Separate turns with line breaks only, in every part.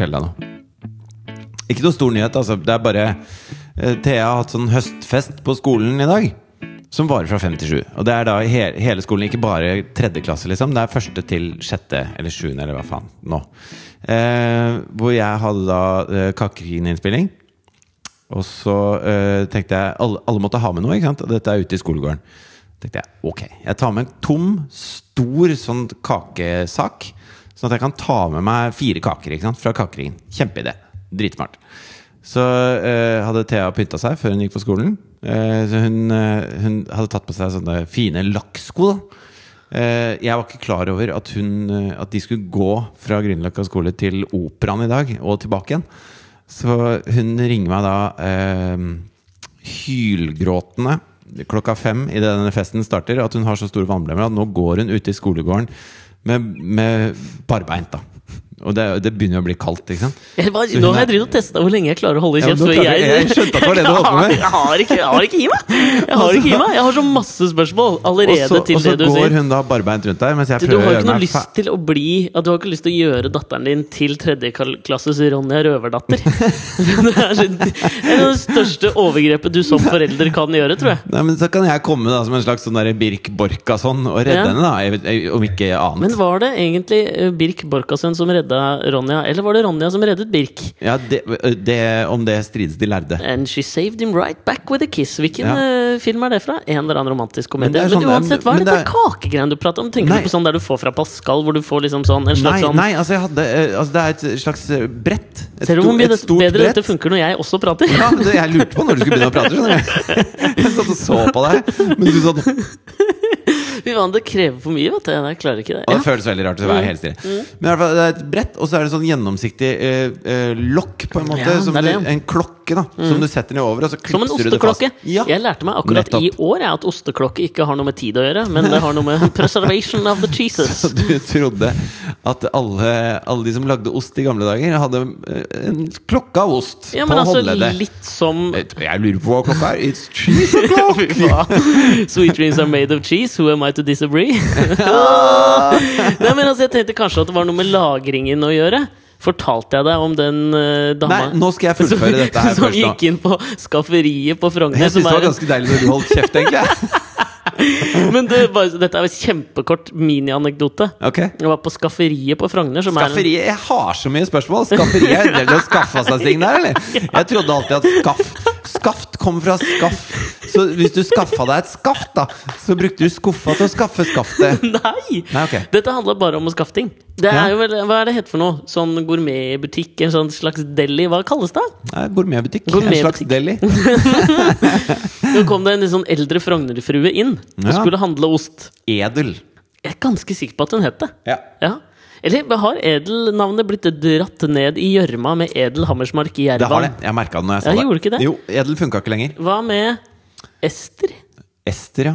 Eh, Ikke noe stor nyhet, altså. Det er bare eh, Thea har hatt sånn høstfest på skolen i dag. Som varer fra fem til sju. Og det er da he hele skolen, ikke bare tredje klasse, liksom. Det er første til sjette eller sjuende, eller hva faen nå. Eh, hvor jeg hadde da eh, Kakekrigeninnspilling. Og så eh, tenkte jeg alle, alle måtte ha med noe, ikke sant? Og dette er ute i skolegården. tenkte jeg ok, jeg tar med en tom, stor sånn kakesak. Sånn at jeg kan ta med meg fire kaker ikke sant? fra kakeringen. Kjempeidé. Dritsmart. Så eh, hadde Thea pynta seg før hun gikk på skolen. Eh, så hun, eh, hun hadde tatt på seg sånne fine lakksko. da. Eh, jeg var ikke klar over at, hun, eh, at de skulle gå fra Grünerløkka skole til Operaen i dag, og tilbake igjen. Så hun ringer meg da eh, hylgråtende klokka fem idet denne festen starter, at hun har så store vannblemmer at nå går hun ute i skolegården med, med barbeint. da Og det, det begynner jo å bli kaldt, ikke sant?
Jeg bare,
Så hun
nå har
er-
jeg drevet og testa hvor lenge jeg klarer å holde
Ja,
kjeft.
nå
for
klarer jeg- jeg skjønte at det var det du holdt på med.
Jeg har ikke, jeg har ikke i meg! Jeg har ikke i meg Jeg har så masse spørsmål allerede
Og så-
til
og så
det du sier.
går hun da barbeint rundt der mens jeg
Du, du
prøver å
har jo
gjøre
ikke noe
meg
lyst
fe-
til å bli at Du har ikke lyst til å gjøre datteren din til tredjeklasses Ronja Røverdatter. det er sånn- så- det er det største overgrepet du som forelder kan gjøre, tror jeg.
Nei, men Så kan jeg komme da som en slags sånn der Birk Borkason og redde
Ja.
henne, da. Jeg, vet- jeg, om ikke annet.
Men var det egentlig eh, Birk Borkasen som redda Ronja, eller var det Ronja som reddet Birk?
ja, det, det, om det strides de lærde.
And She Saved Him Right Back With A Kiss. Hvilken
Ja.
eh, film er det fra? En eller annen romantisk komedie.
Men det er
Men,
sånn-
uansett, hva er
men
dette
det er-
kakegreiene du prater om? Tenker
Nei.
du på sånn der du får fra Pascal, hvor du får liksom sånn en slags
Nei,
sånn
nei altså, jeg hadde, eh, altså det er et slags eh, brett. Et
Ser du hvor
sto-
mye
et
det,
stort
bedre
brett.
dette funker når jeg også prater?
Ja, men det, jeg lurte på når du skulle begynne å prate. skjønner Jeg Jeg satt og så på deg. Men du sånn, og
Fy faen, det krever for mye, vet du. Jeg klarer ikke det.
det
Ja.
føles veldig rart å være helt stille.
Mm.
Men i hvert fall, det er et brett, og så er det sånn gjennomsiktig eh, eh, lokk, på en måte.
Ja,
som
det er
du,
det.
en klokke, da. Som du setter ned over, og så
Som en
klipser du det fast.
osteklokke.
Ja.
Jeg lærte meg akkurat
Nettopp.
i år jeg, at osteklokke ikke har noe med tid å gjøre, men det har noe med preservation of the cheeses.
Så du trodde at alle, alle de som lagde ost i gamle dager, hadde eh, en klokke av ost
Ja,
på
men altså
håndleddet?
litt som
Jeg jeg lurer på hva klokka er. It's cheese o'clock!
Hva? Sweet dreams are made of cheese, who am I to disagree? Nei, men altså, jeg tenkte kanskje at det var noe med lagringen å gjøre. Fortalte jeg deg om den eh,
Nei,
dama
nå skal jeg fullføre dette her
som
først nå.
gikk inn på skafferiet på Frogner?
Jeg syns
som
det var
er en-
ganske deilig når du holdt kjeft, egentlig.
Men det, er bare, dette er jo en kjempekort minianekdote.
Ok
Jeg var på skafferiet på Frogner. Som Er en,
Skafferiet, Jeg har så mye spørsmål! Skafferiet er det det å skaffe seg ting der, eller? Jeg trodde alltid at skaff Skaft kom fra skaff. Så hvis du skaffa deg et skaft, da, så brukte du skuffa til å skaffe skaftet.
Nei!
Nei, ok.
Dette handla bare om å skaffe ting. Det
Ja.
er jo vel, hva er det heter for noe? Sånn gourmetbutikk? En sånn slags deli? Hva kalles det?
Nei, Gourmetbutikk. En
Gourmetbutikk.
slags deli.
Nå kom det en litt sånn eldre Frogner-frue inn og
Ja.
skulle handle ost.
Edel.
Jeg er ganske sikker på at hun het det.
Ja.
Ja. Eller har edelnavnet blitt dratt ned i gjørma med edel Hammersmark i
Det har det.
Jervan?
Jeg merka det når jeg sa
Ja,
det.
gjorde ikke det?
Jo, Edel funka ikke lenger.
Hva med Ester?
Ester, ja.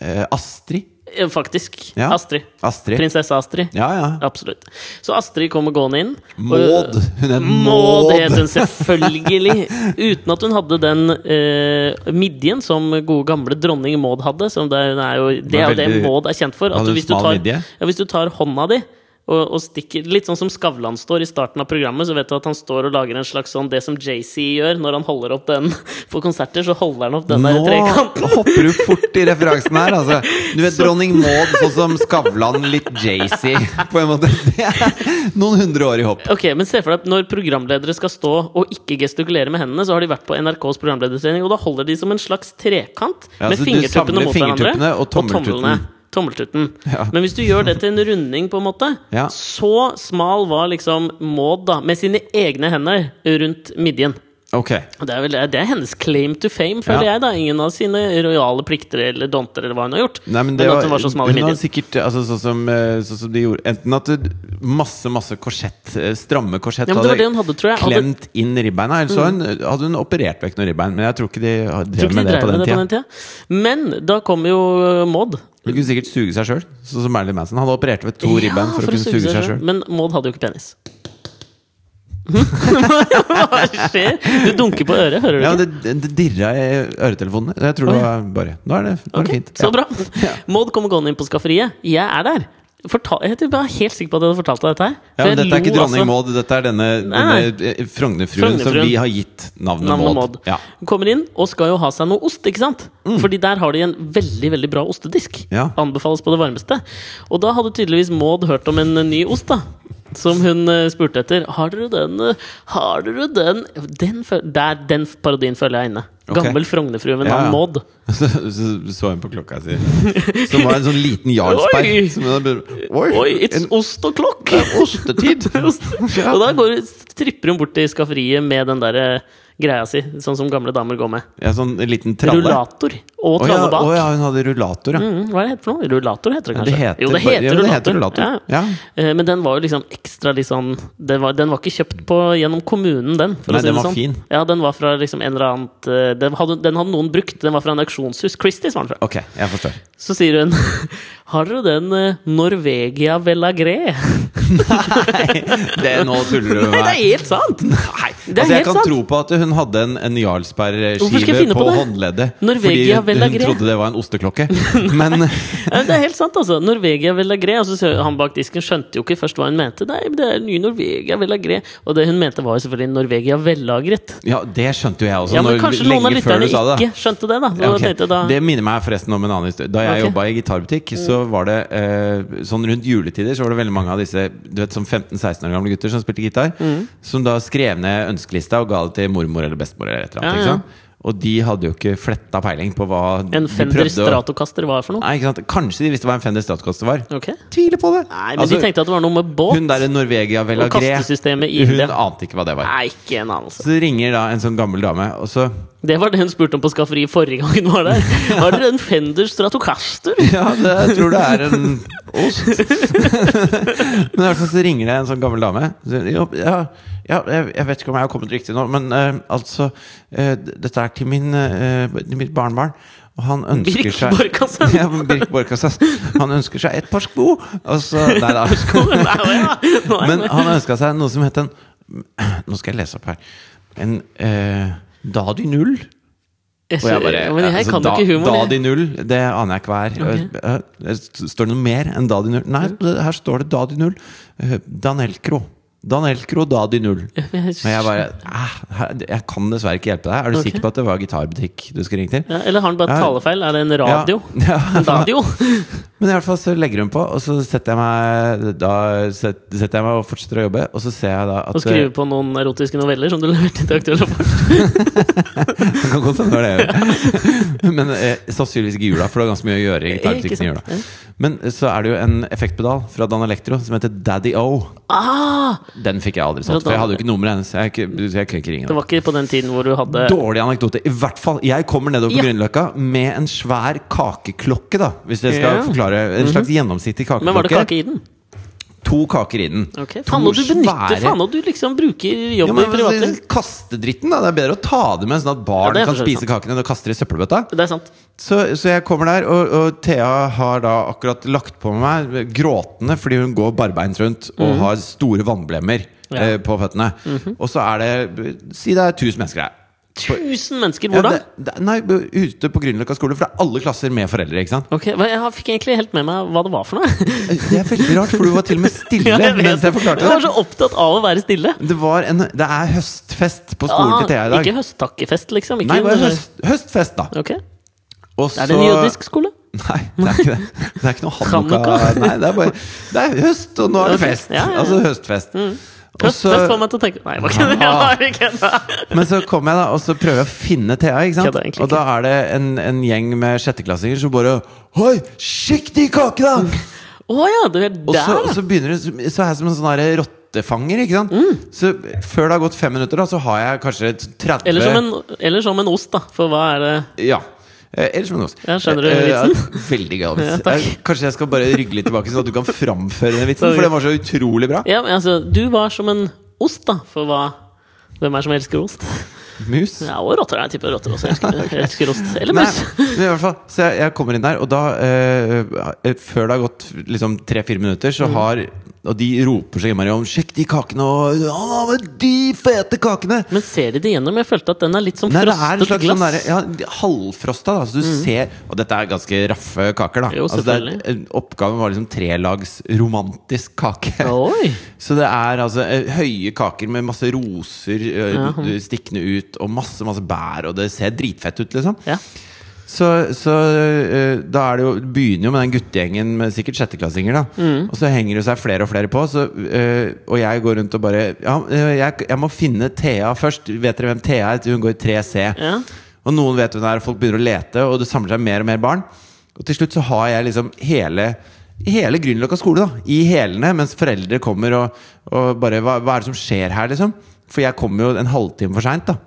Eh, Astrid.
Eh, Faktisk.
Ja.
Astrid.
Astrid.
Prinsesse Astrid.
Ja, ja.
Absolutt. Så Astrid kommer gående inn. og-
Maud. Hun het
Maud het
Maud.
hun selvfølgelig! Uten at hun hadde den eh, midjen som gode gamle dronning Maud hadde. Som det, hun er jo, det er jo det
veldig-
Maud er kjent for. At
Hadde hun
hvis, du
smal
tar,
midje?
ja, hvis du tar hånda di og, og stikker Litt sånn som Skavlan står i starten av programmet, så vet du at han står og lager en slags sånn Det som JC gjør når han holder opp den på konserter, så holder han opp den der
Nå
trekanten.
hopper du fort i referansen her. Altså. Du vet dronning Maud sånn som Skavlan, litt Jay-Z, på en måte. Det er noen hundre år i hopp.
Ok, men se for deg at Når programledere skal stå og ikke gestikulere med hendene, så har de vært på NRKs programledertrening, og da holder de som en slags trekant
Ja,
med
så du
fingertuppene
samler
mot
fingertuppene
hverandre.
og tommeltutten.
tomlene. Tommeltutten.
Ja.
Men hvis du gjør det til en runding, på en måte
Ja.
så smal var liksom Maud, da, med sine egne hender rundt midjen.
Ok.
Og Det er, vel, det er hennes claim to fame, føler
Ja.
jeg. da Ingen av sine rojale plikter eller donter eller hva hun har gjort.
Nei, men
men
det
at hun var så smal i
hun hadde
midjen.
sikkert altså, sånn, som, eh, sånn som de gjorde Enten at du, masse masse korsett, eh, stramme korsett,
Ja, men det var det hun hadde, tror jeg. Hadde- Mm.
klemt inn ribbeina. Eller så hadde hun- hadde hun operert vekk noen ribbein. Men jeg tror ikke de
Tror
drev
ikke
med det
de dreiv
på
med
den
det på
tida.
den tida. Men da kommer jo eh, Maud.
Hun kunne sikkert suge seg sjøl, sånn som Marilyn Manson. Hadde operert ved to ribbein for, å kunne suge seg sjøl.
Men Maud hadde jo ikke penis. Hva skjer? Du dunker på øret, hører du
Ja,
ikke?
det, det dirra i øretelefonene. Jeg tror det var bare Nå er det, nå er
Ok,
det fint.
Så
Ja.
bra. Maud kommer gående inn på skafferiet. Jeg er der. fortal, jeg var helt sikker på at jeg hadde fortalt deg dette her.
Ja,
For
men
jeg
Dette er ikke
lo,
dronning
altså.
Maud, dette er denne,
Nei.
denne eh, Frognerfruen som
Frognerfruen.
vi har gitt navnet, Maud.
Navnet Maud.
Ja. Mm.
Hun kommer inn og skal jo ha seg noe ost, ikke sant? Fordi der har de en veldig veldig bra ostedisk.
Ja.
Anbefales på det varmeste. Og da hadde tydeligvis Maud hørt om en eh, ny ost, da. Som hun eh, spurte etter. Har dere den? eh, Har dere den? Den, føl- der, den parodien føler jeg er inne.
Ok.
Gammel Frognerfrue ved
Ja,
navn
ja.
Maud.
Så, så så hun på klokka si, som var en sånn liten jarlsberg.
Oi!
som hun hadde- Oi,
Oi, it's
en
ost og klokk!
ostetid! Ja.
Og da går, tripper hun bort til skafferiet med den der eh, greia si, sånn som gamle damer går med.
Ja, sånn en liten tralle.
Rullator og
Å ja,
tralle bak.
å ja, hun hadde rullator, ja.
Mm, hva er det heter for noe? Rullator heter det
Ja,
kanskje?
det heter
jo, det
bare-
heter
ja, det
rullator.
heter rullator.
Ja.
Ja.
Eh, Men den var jo liksom ekstra litt sånn det var, Den var ikke kjøpt på, gjennom kommunen, den. For
Nei,
å si
den
det
var
sånn.
fin.
Ja, den var fra liksom en eller annet eh, den hadde, den hadde noen brukt. Den var fra en auksjonshus. Christies var den fra.
Ok, jeg forstår.
Så sier hun Har dere den eh, Norvegia Velagré?
Nei, det, nå tuller du med
Nei, det er
meg.
helt sant! Nei, det er
Altså, jeg
helt
kan
sant!
tro på at hun hadde en, en
Hvorfor skal jeg
jarlsbergskive
finne
på,
på det?
håndleddet.
Norvegia
fordi hun
Velagré.
trodde det var en osteklokke. Men
Ja, men det er helt sant, altså. Norvegia Velagré. Og så sier han bak disken skjønte jo ikke først hva hun mente. Nei, men det er ny Norvegia Velagré. Og det hun mente, var jo selvfølgelig Norvegia vellagret.
ja, det skjønte jo jeg også.
Ja, men
når-
kanskje noen av
lenge før
lytterne
du sa det.
ikke skjønte det, da. Så
Ja, ok.
tenkte jeg da
Det minner meg forresten om en annen historie. Da jeg
Ok. Mm.
jobba i gitarbutikk, så var det eh, sånn rundt juletider Så var det veldig mange av disse Du vet, sånn 15-16 år gamle gutter som spilte gitar,
Mm.
som da skrev ned ønskelista og ga det til mormor eller bestemor. Eller et eller annet,
Ja, ja.
ikke sant? Og de hadde jo ikke fletta peiling på hva
en
de
Fender
prøvde å-
Stratocaster var for noe?
Nei, ikke sant? Kanskje de visste hva en Fender Stratocaster var.
Ok
Tviler på det!
Nei, men de tenkte at det var noe med båt
Altså, hun derre Norvegia
og
Velagré,
kastesystemet i
hun
det.
ante ikke hva det var.
Nei, ikke en anelse.
Så ringer da en sånn gammel dame, og så
Det var det hun spurte om på skafferiet forrige gang hun var der. Har dere en Fender Stratocaster?
Ja, det, jeg tror det er en ost. men i hvert fall så ringer det en sånn gammel dame. Så sier hun, «Jo, Ja, ja jeg, jeg vet ikke om jeg har kommet riktig nå, men eh, altså eh, d- Dette er til min, eh, til mitt barnebarn, og han ønsker
Birk
seg
Borkassen.
ja, men Birk Borkassen. Han ønsker seg et par sko! Og så Nei da.
Nei, ja. Nå er jeg
Men
med.
han ønska seg noe som het en Nå skal jeg lese opp her. En eh, Dadi Null.
Jeg
Og jeg
skjønner-
bare
ja, men jeg
altså,
kan
da,
jo ikke humoren. jeg.
Dadi null, det aner jeg ikke hva er. Eh, eh, Står det noe mer enn Dadi null? Nei, det- her står det Dadi null. Eh, Danelcro. Danelcro Dadi null. Men jeg bare "Ah, her- Jeg kan dessverre ikke hjelpe deg. Er du
Ok.
sikker på at det var gitarbutikk du skulle ringt til?
Ja, eller har han bare
Ja.
talefeil? Er det en radio?
Ja,
En radio?
Men i hvert fall så legger hun på, og så setter jeg meg Da set- setter jeg meg og fortsetter å jobbe, og så ser jeg da at
Og skrive på noen erotiske noveller som du leverte til Aktuell Rapport?
Det kan godt hende det var det. Men eh, sannsynligvis ikke i jula, for det er ganske mye å gjøre i
Ikke
gitarbutikken i
sant?
jula. Men eh, så er det jo en effektpedal fra Dan Electro som heter Daddy O.
Ah,
Den fikk jeg aldri
Fra
satt, for jeg
Dan-
hadde jo ikke nummeret hennes. Jeg, k- jeg kunne ikke ringe
det
henne.
var ikke på den tiden hvor du hadde
Dårlig anekdote. I hvert fall. Jeg kommer nedover på
Ja.
Grünerløkka med en svær kakeklokke, da. Hvis jeg skal
Ja. Mhm.
forklare. En slags gjennomsiktig kakeklokke.
Men var det kake i den?
To kaker i den.
Ok,
To
Faen, og du benytter
svære-
faen, og du liksom bruker
ja,
jobben
men, altså,
i privatliv.
Kaste dritten, da. Det er bedre å ta det med, sånn at barn
det er
kan
for så vidt
spise kakene. Og kaster i søppelbøtta.
Det er sant.
Så, så jeg kommer der, og, og Thea har da akkurat lagt på meg gråtende fordi hun går barbeint rundt og har store vannblemmer
Mhm. Ja. Mhm.
eh, på føttene. Og så er det Si det er 1000 mennesker her.
Tusen mennesker!
Ja,
Hvor da?
det, det, nei, ute på Grünerløkka skole, for det er alle klasser med foreldre. ikke sant?
Ok, hva- Jeg fikk egentlig helt med meg hva det var for noe.
Eh, Det er veldig rart, for du var til og med stille
Ja, jeg vet
mens jeg
det.
forklarte
Jeg var
det.
så opptatt av å være stille.
Det, var en, det er høstfest på skolen
Ah,
til Thea i dag.
ikke høsttakkefest, liksom. Ikke
Nei, det var
en-
høst, høstfest, da.
Ok,
Og
Er det en
så-
jødisk skole?
Nei, det er ikke det. Det er ikke noe hanukka.
Hanukka?
Nei, det er bare Det er høst, og nå er det
Ok,
fest.
ja, ja, ja.
Altså høstfest. Og så,
Høstfest får meg til å tenke Nei, det var ikke det.
Ah.
Jeg var ikke det.
men så kommer jeg, da, og så prøver jeg å finne Thea. ikke
Kødder
sant?
egentlig
Og da er det en, en gjeng med sjetteklassinger som bare Hoi, sjekk de kakene!
Å ja, du Mm, er
Og
der,
så,
ja.
så begynner det Så er jeg som en sånn her rottefanger, ikke sant?
Mm.
Så før det har gått fem minutter, da, så har jeg kanskje 30
Eller som, en, eller som en ost, da. For hva er det
Ja. Eh, Eller som en ost.
Ja, skjønner du
Eh, eh,
vitsen?
Veldig gøy vits.
Ja, takk.
Eh, Kanskje jeg skal bare rygge litt tilbake, sånn at du kan framføre den vitsen,
Sorry.
for den var så utrolig bra.
Ja, men altså, du var som en ost, da. For hva Hvem er det som elsker ost?
Mus?
Ja, og rotter. Jeg tipper rotter også elsker, elsker ost. Eller
Nei,
mus.
men i hvert fall Så
Mm.
jeg, jeg kommer inn der, og da eh, eh, Før det har gått liksom tre-fire minutter, så har Og de roper så innmari om 'sjekk de kakene', og «Å, men de fete kakene!
Men ser de det igjennom? Jeg følte at den er litt som
Nei, det er en
frostet
slags sånn
glass. Mm.
derre ja, halvfrosta, da. Så du ser Og dette er ganske raffe kaker, da.
Jo,
Altså, det er, oppgaven var liksom trelags romantisk kake.
Oi!
Så det er altså eh, høye kaker med masse roser eh,
Ja.
du- stikkende ut, og masse, masse bær, og det ser dritfett ut, liksom.
Ja.
Så, så eh, da er det jo, begynner jo med den guttegjengen med sikkert sjetteklassinger, da. Og så henger det seg flere og flere på. Så, eh, og jeg går rundt og bare Ja, eh, jeg, jeg må finne Thea først. Vet dere hvem Thea er? Hun går i 3C.
Ja.
Og noen vet hun er, og folk begynner å lete, og det samler seg mer og mer barn. Og til slutt så har jeg liksom hele Hele Grünerløkka skole, da. I hælene, mens foreldre kommer og, og bare hva, hva er det som skjer her, liksom? For jeg kommer jo en halvtime for seint, da.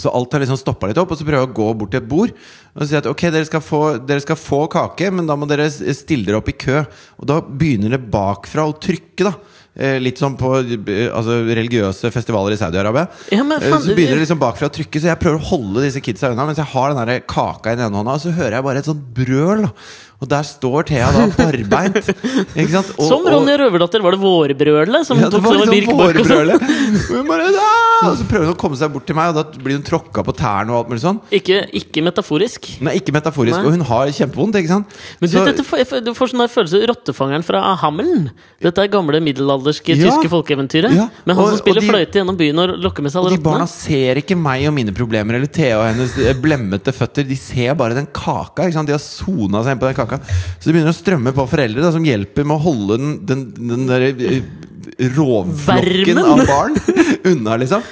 Så alt har liksom stoppa litt opp, og så prøver jeg å gå bort til et bord og si at ok, dere skal, få, dere skal få kake, men da må dere s- stille dere opp i kø. Og da begynner det bakfra å trykke, da. Eh, litt sånn på eh, altså, religiøse festivaler i Saudi-Arabia.
Ja, men
Eh,
faen,
så
det-
begynner det liksom bakfra å trykke, så jeg prøver å holde disse kidsa unna mens jeg har den der kaka i den ene hånda, og så hører jeg bare et sånt brøl. da. Og der står Thea da barbeint. Ikke sant? Og-
Som
og-
Ronja Røverdatter var det vårbrølet som
ja, det
tok
var
seg med
liksom
Birk Bork og sånn.
vårbrølet. Og hun bare, «Ah!» Og så prøver hun å komme seg bort til meg, og da blir hun tråkka på tærne. og alt mulig sånn
Ikke, ikke metaforisk.
Nei, ikke metaforisk,
Nei.
og hun har kjempevondt. ikke sant?
Men du,
Så-
dette får, jeg får- du får sånn der følelse Rottefangeren fra Hammelen. Dette er gamle middelalderske
Ja.
tyske folkeeventyret.
Ja.
Men han
Og-
som spiller
og de-
fløyte gjennom byen og lokker med seg
og
alle
de barna
rottene.
ser ikke meg og mine problemer eller Thea og hennes eh, blemmete føtter. De ser bare den kaka. ikke sant? De har sona seg inn på den kaka. Så det begynner å strømme på foreldre da, som hjelper med å holde den, den, den der eh, rovflokken
Vermen.
av barn unna, liksom.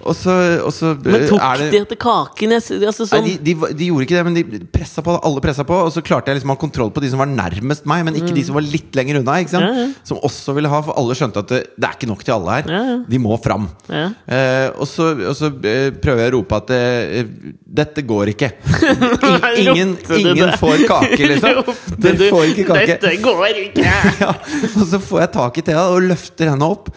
Og så, og så eh,
Men tok
er det
de etter kaken? Jeg, s- altså, sånn,
Nei, de, de, var- de gjorde ikke det, men de pressa på. Alle pressa på, og så klarte jeg liksom å ha kontroll på de som var nærmest meg, men ikke de som var litt lenger unna. Ikke sant?
Mm. Ja, ja.
Som også ville ha, for alle skjønte at det, det er ikke nok til alle her.
Ja, ja.
De må fram.
Ja.
Eh, og så, og så eh, prøver jeg å rope at eh, dette går ikke. I- Ingen,
Ropte du
ingen
det?
får kake, liksom.
Ropte du,
Dere får ikke kake
Dette går ikke!
ja, og så får jeg tak i Thea og løfter henne opp.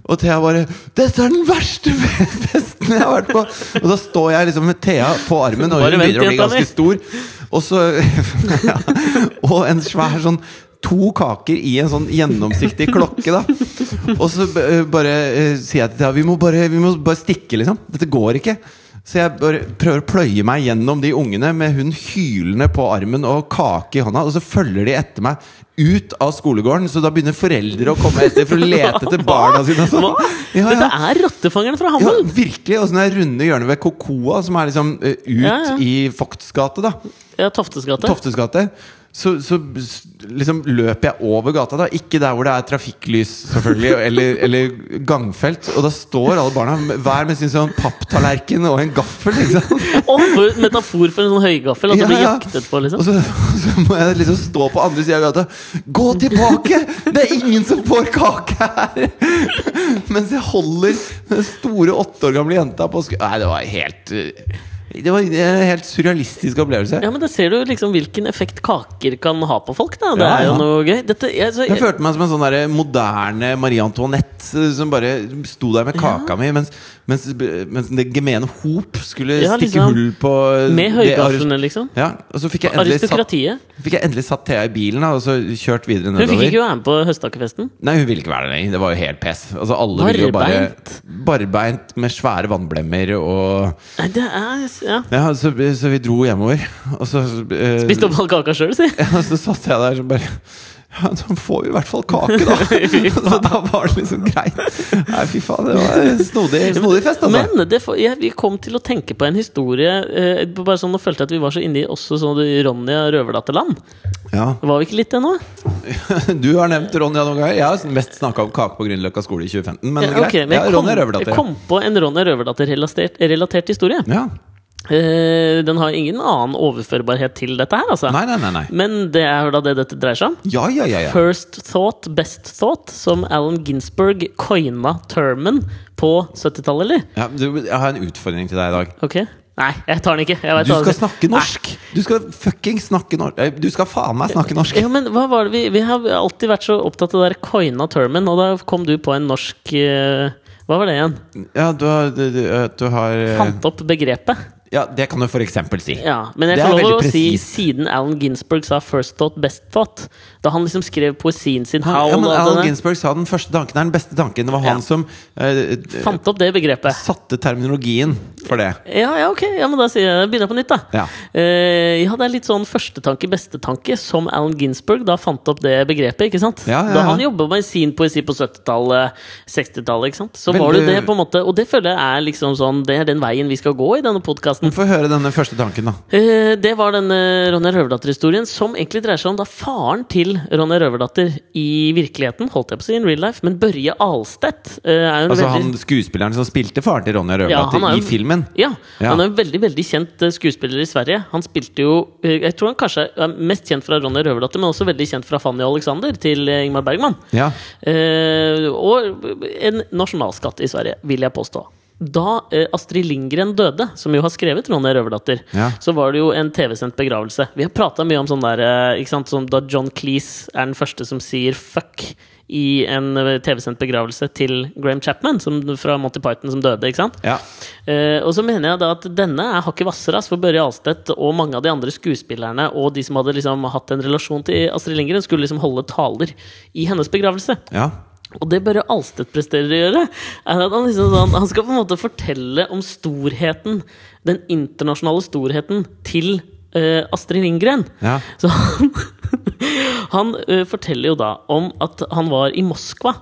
Og Thea bare 'Dette er den verste festen jeg har vært på!' Og da står jeg liksom med Thea på armen, og
Bare
hun
vent,
begynner å bli
jenta mi.
ganske stor. Og så ja, Og en svær sånn To kaker i en sånn gjennomsiktig klokke, da. Og så eh, bare eh, sier jeg til Thea vi må bare, vi må bare stikke, liksom. Dette går ikke. Så jeg bare prøver å pløye meg gjennom de ungene med hun hylende på armen og kake i hånda, og så følger de etter meg ut av skolegården. Så da begynner foreldre å komme etter for å lete etter barna sine. og sånn. Ja,
Dette
ja.
er Rottefangeren fra
Ja,
Hammelen!
virkelig. Og sånn det runde hjørnet ved Kokoa, som er liksom eh, ut
Ja, ja.
i Fogts gate, da.
Ja, Toftes gate.
Toftes gate. Så, så s- liksom løper jeg over gata, da. Ikke der hvor det er trafikklys, selvfølgelig, eller, eller gangfelt. Og da står alle barna med- hver med sin sånn papptallerken og en gaffel, ikke sant.
Åh, for, metafor for en sånn høygaffel. At
Ja,
du blir
ja.
jaktet på, liksom.
Og så, så må jeg liksom stå på andre sida av gata. Gå tilbake! Det er ingen som får kake her! Mens jeg holder den store åtte år gamle jenta på sku... Nei, det var helt eh, Det var en helt surrealistisk opplevelse.
Ja, men Der ser du liksom hvilken effekt kaker kan ha på folk. da Det
Ja,
er jo
ja.
noe gøy. Dette, jeg, altså, så,
Jeg følte meg som en sånn der moderne Marie Antoinette eh, som bare sto der med kaka mi, mens, mens, mens det gemene hop skulle
Ja,
stikke
liksom.
hull på
med
det arist-
høygafflene, liksom.
Ja, og så fikk jeg endelig satt,
Aristokratiet.
fikk jeg endelig satt Thea i bilen da, og så kjørt videre
Hun
nedover.
fikk ikke være med på høstakefesten.
Nei, hun ville ikke være der lenger. Det var jo helt pes. Altså, alle ville jo bare Barbeint med svære vannblemmer og
Nei, det er ja.
Ja, så, så vi dro hjemover. Og så eh,
Spiste opp all kaka sjøl, si.
ja, så satt jeg der og bare ja, så får vi i hvert fall kake, da! så da var det liksom greit. Nei, fy faen, det var en snodig, snodig fest, altså.
Men det, får- jeg, vi kom til å tenke på en historie eh, Bare sånn, Nå følte jeg at vi var så inne i også sånn i Ronja Røverdatterland.
ja.
Var vi ikke litt det nå?
Du har nevnt Ronja noen ganger. Jeg har liksom mest snakka om kake på Grünerløkka skole i 2015, men
Ja,
greit.
ok,
ja,
men jeg, kom,
Ronja
jeg
Røverdatter.
kom på en Ronja Røverdatter-relatert relatert historie.
Ja.
Eh, den har ingen annen overførbarhet til dette her, altså.
Nei, nei, nei. nei.
Men det er jo da det dette dreier seg om.
Ja, ja, ja. ja.
First thought, best thought, som Alan Ginsberg coina termen på 70-tallet, eller?
ja du, jeg har en utfordring til deg i dag.
Ok? Nei, jeg tar den ikke. Jeg vet
Du
hva
skal
det-
snakke norsk! Du skal fucking snakke norsk Du skal faen meg snakke norsk!
Ja, men hva var det vi, vi har alltid vært så opptatt av det der coina termen, og da kom du på en norsk eh, Hva var det igjen?
Ja, du har, du, du, du har eh,
Fant opp begrepet.
Ja, det kan du for eksempel si.
Ja, men jeg
Det
får
er
lov å
veldig
si
presist.
siden Alan Ginsberg sa 'first thought, best thought', da han liksom skrev poesien sin
Han, ja,
Howl
men
og
Alan
denne,
Ginsberg sa den første tanken er den beste tanken. Det var han
Ja.
som eh, eh,
fant opp det begrepet.
satte terminologien for det.
Ja, ja, ok, ja, men da sier jeg begynner jeg på nytt, da.
Ja.
Eh, ja, det er litt sånn førstetanke, bestetanke, som Alan Ginsberg da fant opp det begrepet. ikke sant?
Ja, ja, ja.
Da han jobba med sin poesi på 70-tallet, 60-tallet, ikke sant? så var
Veldig-
det det på en måte, og det føler jeg er liksom sånn, det er den veien vi skal gå i denne podkasten.
Få høre denne første tanken, da.
Eh, Det var denne Ronja Røverdatter-historien, som egentlig dreier seg om da faren til Ronja Røverdatter i virkeligheten, holdt jeg på å si, in real life, men Børje Alstedt eh, er jo en
Altså
veldig
han skuespilleren som spilte faren til Ronja
Ja, han
Røverdatter
er
i
jo-
filmen.
ja,
Ja.
Han er en veldig veldig kjent eh, skuespiller i Sverige. Han spilte jo eh, Jeg tror han kanskje er mest kjent fra Ronja Røverdatter, men også veldig kjent fra Fanny og Alexander til eh, Ingmar Bergman.
Ja.
Eh, og en nasjonalskatt i Sverige, vil jeg påstå. Da eh, Astrid Lindgren døde, som jo har skrevet 'Ronja Røverdatter',
Ja.
så var det jo en TV-sendt begravelse. Vi har prata mye om sånn der eh, ikke sant, som Da John Cleese er den første som sier 'fuck' i en eh, TV-sendt begravelse til Graham Chapman som, fra Monty Python, som døde. ikke sant?
Ja.
Eh, og så mener jeg da at denne er hakket hvassere ass, for Børre Alstedt og mange av de andre skuespillerne og de som hadde liksom hatt en relasjon til Astrid Lindgren, skulle liksom holde taler i hennes begravelse.
ja.
Og det Børre Alstedt presterer å gjøre, er at han, liksom sånn, han skal på en måte fortelle om storheten, den internasjonale storheten, til eh, Astrid Lindgren.
Ja.
Så han, han eh, forteller jo da om at han var i Moskva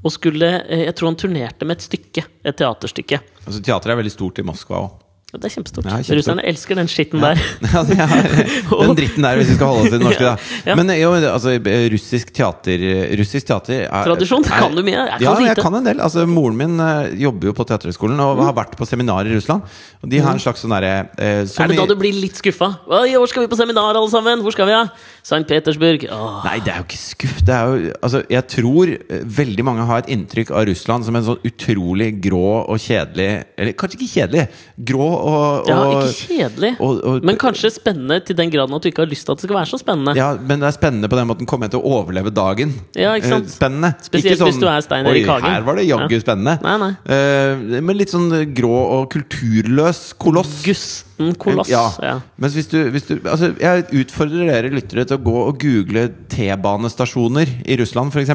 og skulle eh, Jeg tror han turnerte med et stykke, et teaterstykke.
Altså Teateret er veldig stort i Moskva òg.
Ja, Det er kjempestort.
Ja, kjempestort.
Russerne elsker den skitten der.
Ja, det er- den dritten der, hvis vi skal holde oss til det norske, da.
Ja.
Men jo, altså, russisk teater eh, Russisk teater er,
Tradisjon, kan du mye? Jeg kan
ja, jeg
lite. Mm.
kan en del. Altså, moren min eh, jobber jo på Teaterhøgskolen og har vært på seminar i Russland. Og de har en slags sånn derre eh, som
Er
i-
det da du blir litt skuffa? «Oi, Hvor skal vi på seminar, alle sammen? Hvor skal vi, da? St. Petersburg. Åh.
Nei, det er jo ikke skuff. Det er jo, altså, jeg tror eh, veldig mange har et inntrykk av Russland som en sånn utrolig grå og kjedelig Eller kanskje ikke kjedelig. Grå og, og
Ja, ikke kjedelig,
og- og-
men kanskje spennende til den graden at du ikke har lyst til at det skal være så spennende.
Ja, men det er spennende på den måten. Kommer jeg til å overleve dagen?
Ja, ikke sant?
Eh, Spennende.
Spesielt hvis du er Stein Erik
«Oi,
Hagen».
Her var det jaggu spennende.
Nei, nei.
Eh, men litt sånn eh, grå og kulturløs koloss.
Gusten koloss.
Ja.
Ja.
Mens hvis du, hvis du altså, Jeg utfordrer dere lyttere til å gå og google T-banestasjoner i Russland, f.eks.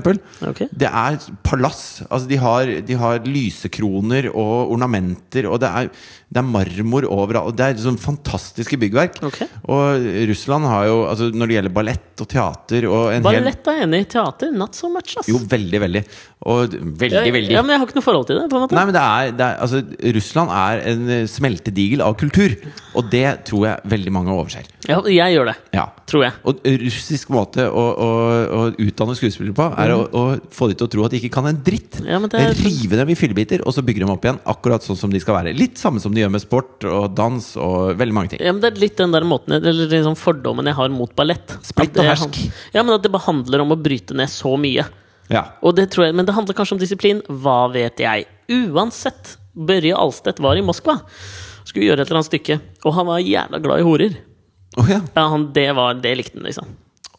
Ok.
Det er palass. Altså, de, har, de har lysekroner og ornamenter, og det er, det er marmor overalt. og Det er sånn fantastiske byggverk.
Ok.
Og Russland har jo altså, Når det gjelder ballett og teater og en hel-
Ballett er enig. Teater, not so much, ass.
Jo, veldig, veldig. Og veldig,
Ja,
veldig
Ja, men jeg har ikke noe forhold til det. på en måte
Nei, men det er, det er Altså, Russland er en eh, smeltedigel av kultur. Og det tror jeg veldig mange overser.
ja, Jeg gjør det,
Ja.
tror jeg.
Og russisk måte å, å, å utdanne skuespillere på er å, å få dem til å tro at de ikke kan en dritt.
Ja, men det er- sånn-
Rive dem i fillebiter, og så bygger de opp igjen akkurat sånn som de skal være. Litt samme som de gjør med sport og dans og veldig mange ting.
Ja, men Det er litt den der måten Eller liksom fordommen jeg har mot ballett. At
Splitt og
det
hersk.
han- Ja, men At det bare handler om å bryte ned så mye.
Ja.
Og det tror jeg, men det handler kanskje om disiplin. Hva vet jeg? Uansett, Børje Alstedt var i Moskva. Skulle gjøre et eller annet stykke. Og han var jævla glad i horer.
Å ja.
Ja, han, det, var, det likte han, liksom.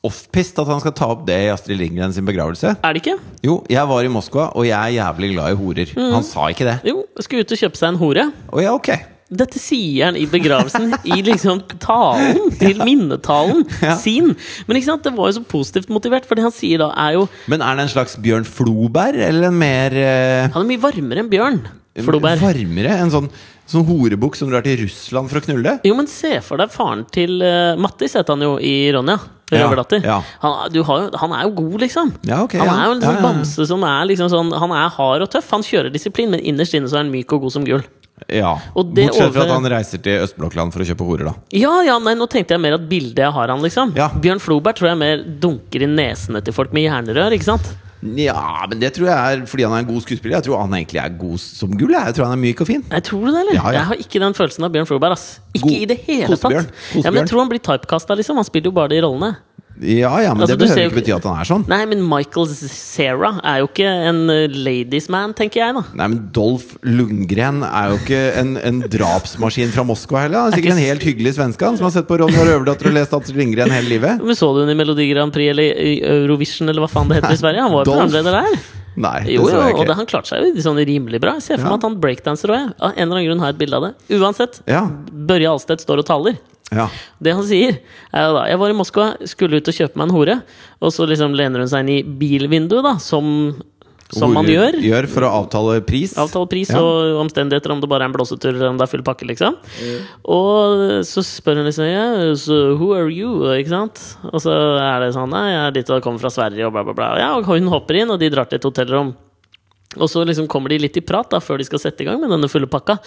Offpist at han skal ta opp det i Astrid Lindgren sin begravelse.
Er det ikke?
Jo, jeg var i Moskva, og jeg er jævlig glad i horer.
Mm.
Han sa ikke det.
Jo, skulle ut og kjøpe seg en hore.
Å ja, ok.
Dette sier han i begravelsen, i liksom talen, til minnetalen
Ja.
sin. Men ikke sant, det var jo så positivt motivert, for det han sier da, er jo
Men er det en slags Bjørn Floberg, eller en mer eh,
Han er mye varmere enn Bjørn Floberg.
varmere? En sånn, sånn horebukk som drar til Russland for å knulle?
Jo, men se for deg faren til eh, Mattis, heter han jo i Ronja.
Ja,
Røverdatter.
ja.
Han, du har, jo- han er jo god, liksom.
Ja, ok,
han
ja.
er jo en
Ja,
sånn
ja, ja.
bamse som er liksom sånn Han er hard og tøff. Han kjører disiplin, men innerst inne så er han myk og god som gull.
Ja,
Og det
Bortsett fra
over-
at han reiser til Østblokkland for å kjøpe horer, da.
Ja, ja, nei, nå tenkte jeg mer at bildet jeg har han, liksom.
Ja.
Bjørn Floberg tror jeg mer dunker i nesene til folk med hjernerør, ikke sant?
Ja, men det tror jeg er fordi han er en god skuespiller. Jeg tror han egentlig er god som gull. Jeg Jeg tror han er myk og fin.
Nei, tror du det, eller?
Ja, ja.
Jeg har ikke den følelsen av Bjørn Floberg, ass. Ikke
God-
i det hele
Kosebjørn.
tatt. Ja, men jeg
Kosebjørn.
tror han blir typecasta, liksom. Han spiller jo bare de rollene.
Ja, ja, men
Altså,
det
du
behøver
ser jo
ikke bety at han er sånn.
Nei, men Michael Sarah er jo ikke en eh, ladies man, tenker jeg, da.
Nei, men Dolf Lundgren er jo ikke en, en drapsmaskin fra Moskva heller. Han er
ikke
sikkert en helt hyggelig svenske han, som har sett på Ronja Røverdatter og lest Astrid Lindgren hele livet.
Men Så du henne i Melodi Grand Prix eller i Eurovision eller hva faen det heter i Sverige? Han var jo
Dolph.
programleder der.
Nei, det så
Jo, jo,
jeg
og det,
ikke.
han klarte seg jo sånn rimelig bra. Jeg ser for
Ja.
meg at han breakdanser òg. Av en eller annen grunn har jeg et bilde av det. Uansett,
Ja,
Børje Alstedt står og taler.
ja.
Det han sier, er jo da Jeg var i Moskva, skulle ut og kjøpe meg en hore. Og så liksom lener hun seg inn i bilvinduet, da, som, som man
Hvor-
gjør.
Gjør for å avtale pris.
Avtale pris
Ja.
og omstendigheter, om det bare er en blåsetur eller om det er full pakke, liksom. Og så spør hun liksom yeah, so Who are you? Ikke sant? Og så er det sånn Nei, jeg er dit og kommer fra Sverige, og bla, bla, bla. Ja, og hun hopper inn, og de drar til et hotellrom. Og så liksom kommer de litt i prat da før de skal sette i gang med denne fulle pakka.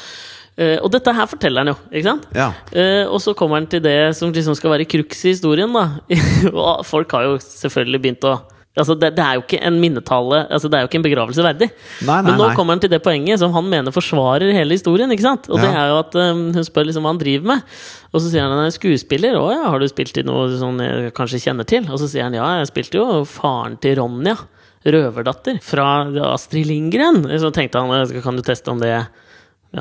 Eh, og dette her forteller han jo, ikke sant?
Ja.
Eh, og så kommer han til det som liksom skal være crux i historien, da. og folk har jo selvfølgelig begynt å Altså, det, det er jo ikke en minnetale Altså, det er jo ikke en begravelse verdig.
Nei, nei,
Men nå
nei.
kommer han til det poenget som han mener forsvarer hele historien. ikke sant? Og det
Ja.
er jo at eh, hun spør liksom hva han driver med. Og så sier han han er skuespiller. Å ja, har du spilt i noe sånn jeg kanskje kjenner til? Og så sier han ja, jeg spilte jo faren til Ronja. Røverdatter fra Astrid Lindgren. Så tenkte han eh, kan du teste om det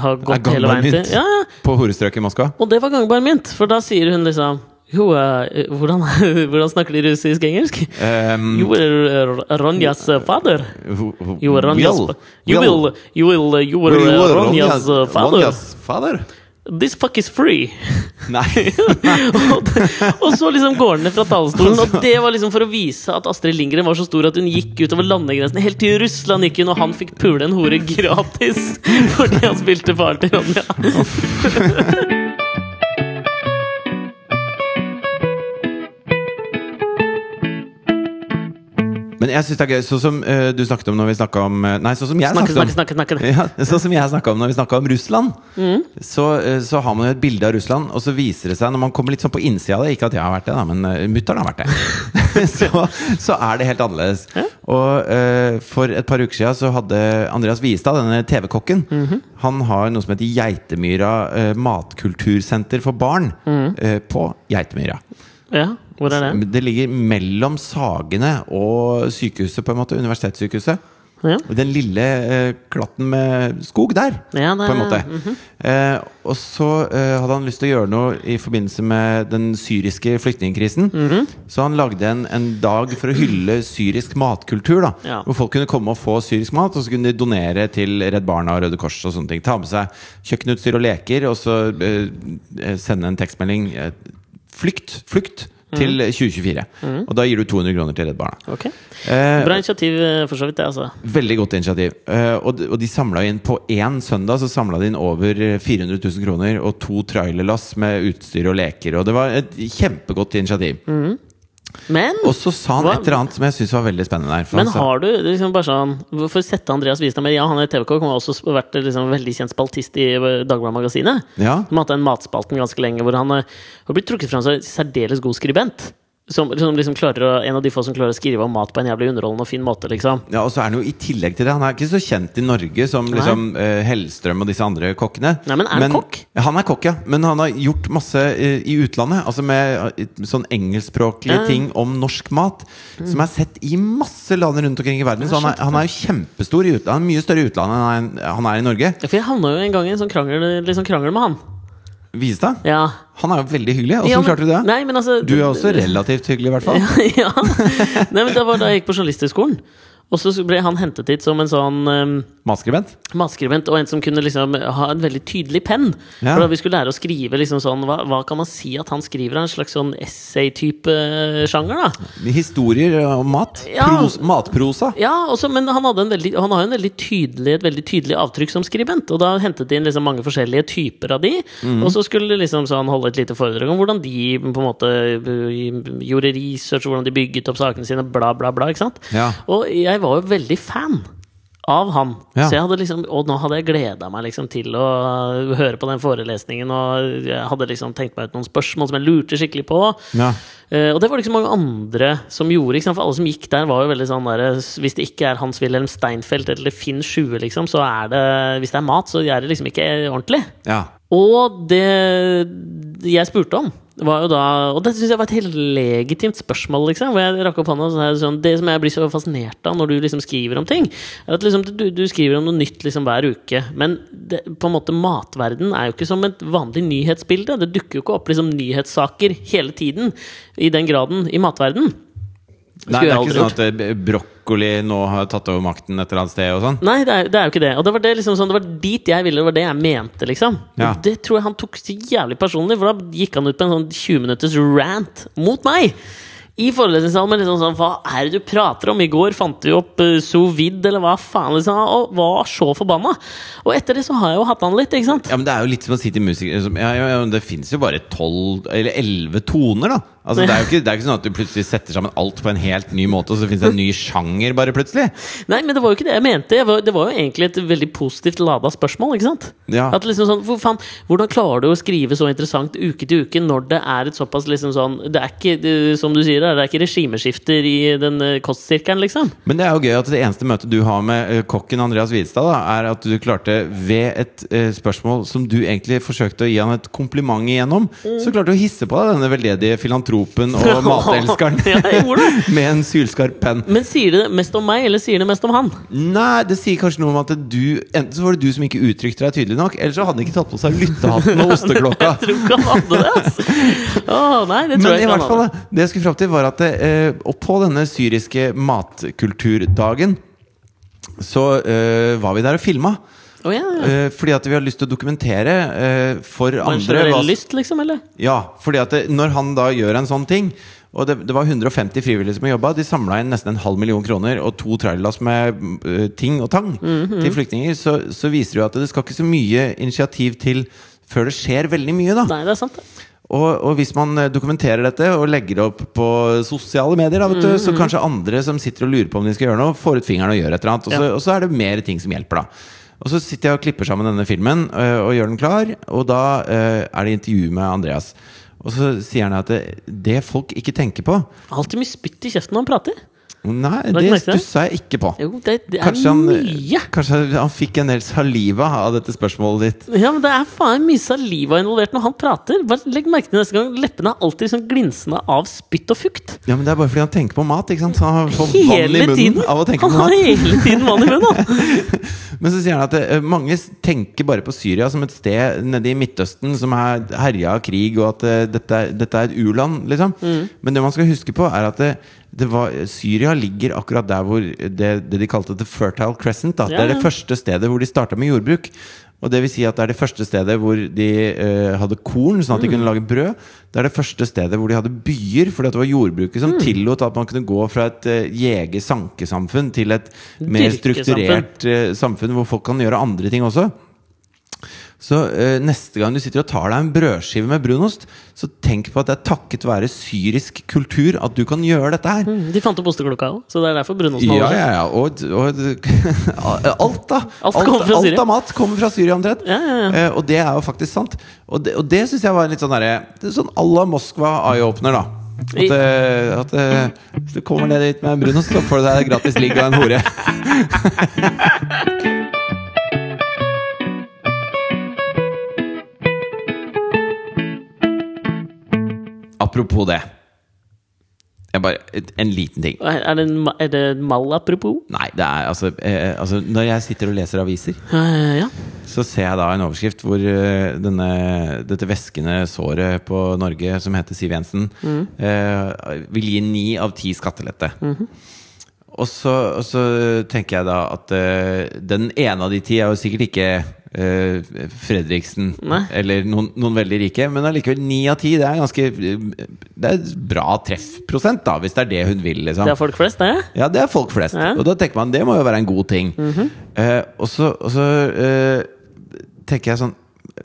har gått hele
gangbar
veien til.
mynt.
Ja, ja.
På horestrøk i Moskva.
Og det var gangbar mynt, for da sier hun liksom jo, eh, hvordan, hvordan snakker de russisk engelsk?
Um,
You were eh, Ronjas eh, father.
who- who-
You were Ronjas
will.
fa- You will, you will, eh, you were
Will
eh, Ronjas
Ronjas-
eh, father.
Ronjas father?
This fuck is free.
Nei.
og, og så liksom går han ned fra talerstolen, og det var liksom for å vise at Astrid Lindgren var så stor at hun gikk utover landegrensen. Helt til Russland gikk hun, og han fikk pule en hore gratis fordi han spilte far til Ronja.
Men jeg synes det er gøy, sånn som eh, du snakket om når vi snakket om eh, Nei, sånn som jeg
Snakke,
snakket om
snakke, snakke. snakke.
ja, sånn som jeg snakket om når vi snakket om Russland,
Mm.
så, eh, så har man jo et bilde av Russland, og så viser det seg når man kommer litt sånn på innsida av det Ikke at jeg har vært det, da, men eh, mutter'n har vært det. så, så er det helt annerledes. Og eh, for et par uker siden så hadde Andreas Viestad, denne TV-kokken,
Mhm.
han har noe som heter Geitemyra eh, matkultursenter for barn
Mhm.
eh, på Geitemyra.
Ja, hvor er det?
Det ligger mellom Sagene og sykehuset, på en måte. Universitetssykehuset.
Ja.
Og Den lille eh, klatten med skog der,
Ja, det- mhm.
på en måte. eh, og så eh, hadde han lyst til å gjøre noe i forbindelse med den syriske flyktningkrisen.
Mhm.
Så han lagde en, en dag for å hylle syrisk matkultur. da
Ja.
Hvor folk kunne komme og få syrisk mat, og så kunne de donere til Redd Barna og Røde Kors. og sånne ting Ta med seg kjøkkenutstyr og leker, og så eh, sende en tekstmelding. Eh, flykt! Flykt! Til
Mhm.
2024. Og da gir du 200 kroner til Redd Barna.
Ok.
Eh,
Bra initiativ, eh, for så vidt, det, altså.
Veldig godt initiativ. Eh, og de, og de samla inn på én søndag Så samla de inn over eh, 400 000 kroner og to trailerlass med utstyr og leker. Og det var et kjempegodt initiativ.
Men,
Og så sa han
Mm. Hva-
et eller annet som jeg syns var veldig spennende. Der, for
men
han sa-
har du liksom bare sånn For å sette Andreas Wiestad med Ja, han er TV-kokk, men har også vært liksom, veldig kjent spaltist i eh, Dagbladet-magasinet.
ja.
Som har hatt den matspalten ganske lenge, hvor han eh, har blitt trukket fram som en særdeles god skribent. Som, som liksom klarer å, en av de få som klarer å skrive om mat på en jævlig underholdende og fin måte, liksom.
ja, Og så er han jo i tillegg til det Han er ikke så kjent i Norge som liksom, eh, Hellstrøm og disse andre kokkene.
Nei, men er han kokk?
Ja, Han er kokk, ja. Men han har gjort masse eh, i utlandet. Altså med eh, sånn engelskspråklige
Ja. Mm.
ting om norsk mat. Som er sett i masse land rundt omkring i verden. Så han er, han er jo kjempestor i utlandet. Han er Mye større i utlandet enn han er- han er i Norge.
Ja, For jeg havna jo en gang i en sånn krangel, litt sånn krangel med han.
Vistad,
Ja.
han er jo veldig hyggelig. Åssen
ja, men-
klarte du det?
Nei, men altså,
Du er også relativt hyggelig, i hvert fall.
ja. Nei, men det var da jeg gikk på Journalisthøgskolen. Og så ble han hentet hit som en sånn um,
Matskribent.
matskribent, og en som kunne liksom ha en veldig tydelig penn.
Ja.
For da vi skulle lære å skrive liksom sånn hva, hva kan man si at han skriver? En slags sånn essay-type eh, sjanger, da.
Historier om mat.
Ja.
Pros, matprosa.
Ja, også, men han, hadde en veldig, han har jo en veldig tydelig, et veldig tydelig avtrykk som skribent. Og da hentet de inn liksom mange forskjellige typer av de.
Mhm.
Og så skulle de liksom sånn holde et lite foredrag om hvordan de på en måte øh, gjorde research, hvordan de bygget opp sakene sine, bla, bla, bla. ikke sant?
Ja.
Og jeg var jo veldig fan av han.
Ja.
Så jeg hadde liksom, og nå hadde jeg gleda meg liksom til å øh, høre på den forelesningen. Og jeg hadde liksom tenkt meg ut noen spørsmål som jeg lurte skikkelig på.
Ja.
Eh, og det var det ikke så mange andre som gjorde. Ikke sant? For alle som gikk der, var jo veldig sånn der Hvis det ikke er Hans-Wilhelm Steinfeld eller Finn Sjue, liksom, så er det Hvis det er mat, så er det liksom ikke ordentlig.
ja.
Og det jeg spurte om, var jo da Og det syns jeg var et helt legitimt spørsmål, liksom. Hvor jeg rakk opp hånda og sa sånn Det som jeg blir så fascinert av når du liksom skriver om ting, er at liksom du, du skriver om noe nytt liksom hver uke. Men det, på en måte matverden er jo ikke som et vanlig nyhetsbilde. Det dukker jo ikke opp liksom nyhetssaker hele tiden i den graden i matverden.
Nei,
Skulle
det er
jeg
ikke
aldri
sånn at eh, brok brokkoli nå har tatt over makten et eller annet sted og sånn.
Nei, det er, det er jo ikke det. Og det var, det, liksom, sånn, det var dit jeg ville, det var det jeg mente, liksom.
Ja.
Og det tror jeg han tok så jævlig personlig, for da gikk han ut på en sånn 20 minutters rant mot meg! I forelesningssalen med liksom sånn Hva er det du prater om? I går fant du opp uh, sous vide, eller hva faen? liksom Og var så forbanna! Og etter det så har jeg jo hatt han litt, ikke sant?
Ja, men Det er jo litt som å si til musikere som, ja, ja, ja, men Det fins jo bare tolv eller elleve toner, da. Altså, det, er jo ikke, det er ikke sånn at du plutselig setter sammen alt på en helt ny måte, og så fins det en ny sjanger bare plutselig.
Nei, men det var jo ikke det jeg mente. Jeg var, det var jo egentlig et veldig positivt lada spørsmål. ikke sant?
Ja.
At liksom sånn, hvor faen, Hvordan klarer du å skrive så interessant uke til uke når det er et såpass liksom sånn Det er ikke, det- som du sier, det er det er ikke regimeskifter i den eh, kostsirkelen, liksom.
Men det er jo gøy at det eneste møtet du har med eh, kokken Andreas Hvidstad, da, er at du klarte ved et eh, spørsmål som du egentlig forsøkte å gi han et kompliment igjennom, så klarte du å hisse på deg denne veldedige filantropen og matelskeren
Ja, jeg gjorde det.
med en sylskarp penn.
Men sier det mest om meg, eller sier det mest om han?
Nei, det sier kanskje noe om at du Enten så var det du som ikke uttrykte deg tydelig nok, eller så hadde han ikke tatt på seg lyttehatten og osteklokka.
Jeg tror ikke han hadde det, altså. Åh, nei, det tror
Men
jeg
i
ikke han
hvert fall,
hadde.
da, det jeg skulle fram til, var at eh, og på denne syriske matkulturdagen så eh, var vi der og filma.
Å, ja, ja.
Eh, fordi at vi har lyst til å dokumentere eh, for
Var det en
andre hva-
generell lyst, liksom? eller?
Ja, fordi at det, når han da gjør en sånn ting Og det, det var 150 frivillige som jobba. De samla inn nesten en halv million kroner og to trailerlass med eh, ting og tang til flyktninger. Så, så viser det jo at det skal ikke så mye initiativ til før det skjer veldig mye. da
Nei, det er sant. det.
og, og hvis man eh, dokumenterer dette og legger det opp på sosiale medier, da, vet du,
Mm.
så kanskje andre som sitter og lurer på om de skal gjøre noe, får ut fingeren og gjør et eller annet. Og så,
Ja.
og så er det mer ting som hjelper, da. Og så sitter jeg og klipper sammen denne filmen eh, og gjør den klar, og da eh, er det intervju med Andreas. Og så sier han at det, det folk ikke tenker på
Alltid mye spytt i kjeften når han prater.
Nei,
du
det
merke det?
stussa jeg ikke på.
Jo, det, det er
Kanskje han, eh,
mye.
kanskje han fikk en del saliva av dette spørsmålet ditt.
Ja, men Det er faen mye saliva involvert når han prater. Bare legg merke til neste gang Leppene er alltid liksom glinsende av spytt og fukt.
Ja, men Det er bare fordi han tenker på mat. ikke sant? Så han får vann i
Hele tiden!
munnen av å tenke på
han
mat.
har hele tiden vann i munnen! han.
Men så sier han at eh, mange s- tenker bare på Syria som et sted nede i Midtøsten som er herja av krig, og at eh, dette, er- dette er et u-land, liksom. Men det man skal huske på, er at det, det var, Syria ligger akkurat der hvor det, det de kalte The Fertile Crescent. Da. Det
Ja,
er
ja.
det første stedet hvor de starta med jordbruk. Og det vil si at det er det første stedet hvor de eh, hadde korn, sånn at de kunne lage brød. Det er det første stedet hvor de hadde byer, fordi at det var jordbruket som tillot at man kunne gå fra et eh, jeger-sankesamfunn til et mer
Dyrkesamfunn.
strukturert et, eh, samfunn hvor folk kan gjøre andre ting også. Så eh, neste gang du sitter og tar deg en brødskive med brunost, så tenk på at det er takket være syrisk kultur at du kan gjøre dette her.
Mm, De fant opp osteklokka òg, så det er derfor brunosten
Ja,
holder seg.
ja, ja. Og, og alt, da.
Alt kommer fra Syria.
alt av mat kommer fra Syria, omtrent.
Ja, ja, ja.
Eh, og det er jo faktisk sant. Og det, og det syns jeg var en litt sånn derre det er Sånn à la Moskva eye-opener, da. At, eh, at eh, hvis du kommer ned dit med en brunost, så får du deg gratis ligg og en hore. Apropos det. Jeg bare, et- en liten ting.
Er er det, en ma- er det en mal apropos?
Nei, det er altså, eh, altså Når jeg sitter og leser aviser,
Eh, ja.
så ser jeg da en overskrift hvor eh, denne, dette væskende såret på Norge som heter Siv Jensen, eh, vil gi ni av ti skattelette. Og, så, og så tenker jeg da at eh, den ene av de ti er jo sikkert ikke eh, Fredriksen
Nei.
eller noen, noen veldig rike, men allikevel ni av ti. Det er ganske eh, Det er bra treffprosent, da, hvis det er det hun vil, liksom.
Det er folk flest, det?
Ja, det er folk flest.
Ja. Mhm.
Og da tenker man det må jo være en god ting. Eh, og så, og så eh, tenker jeg sånn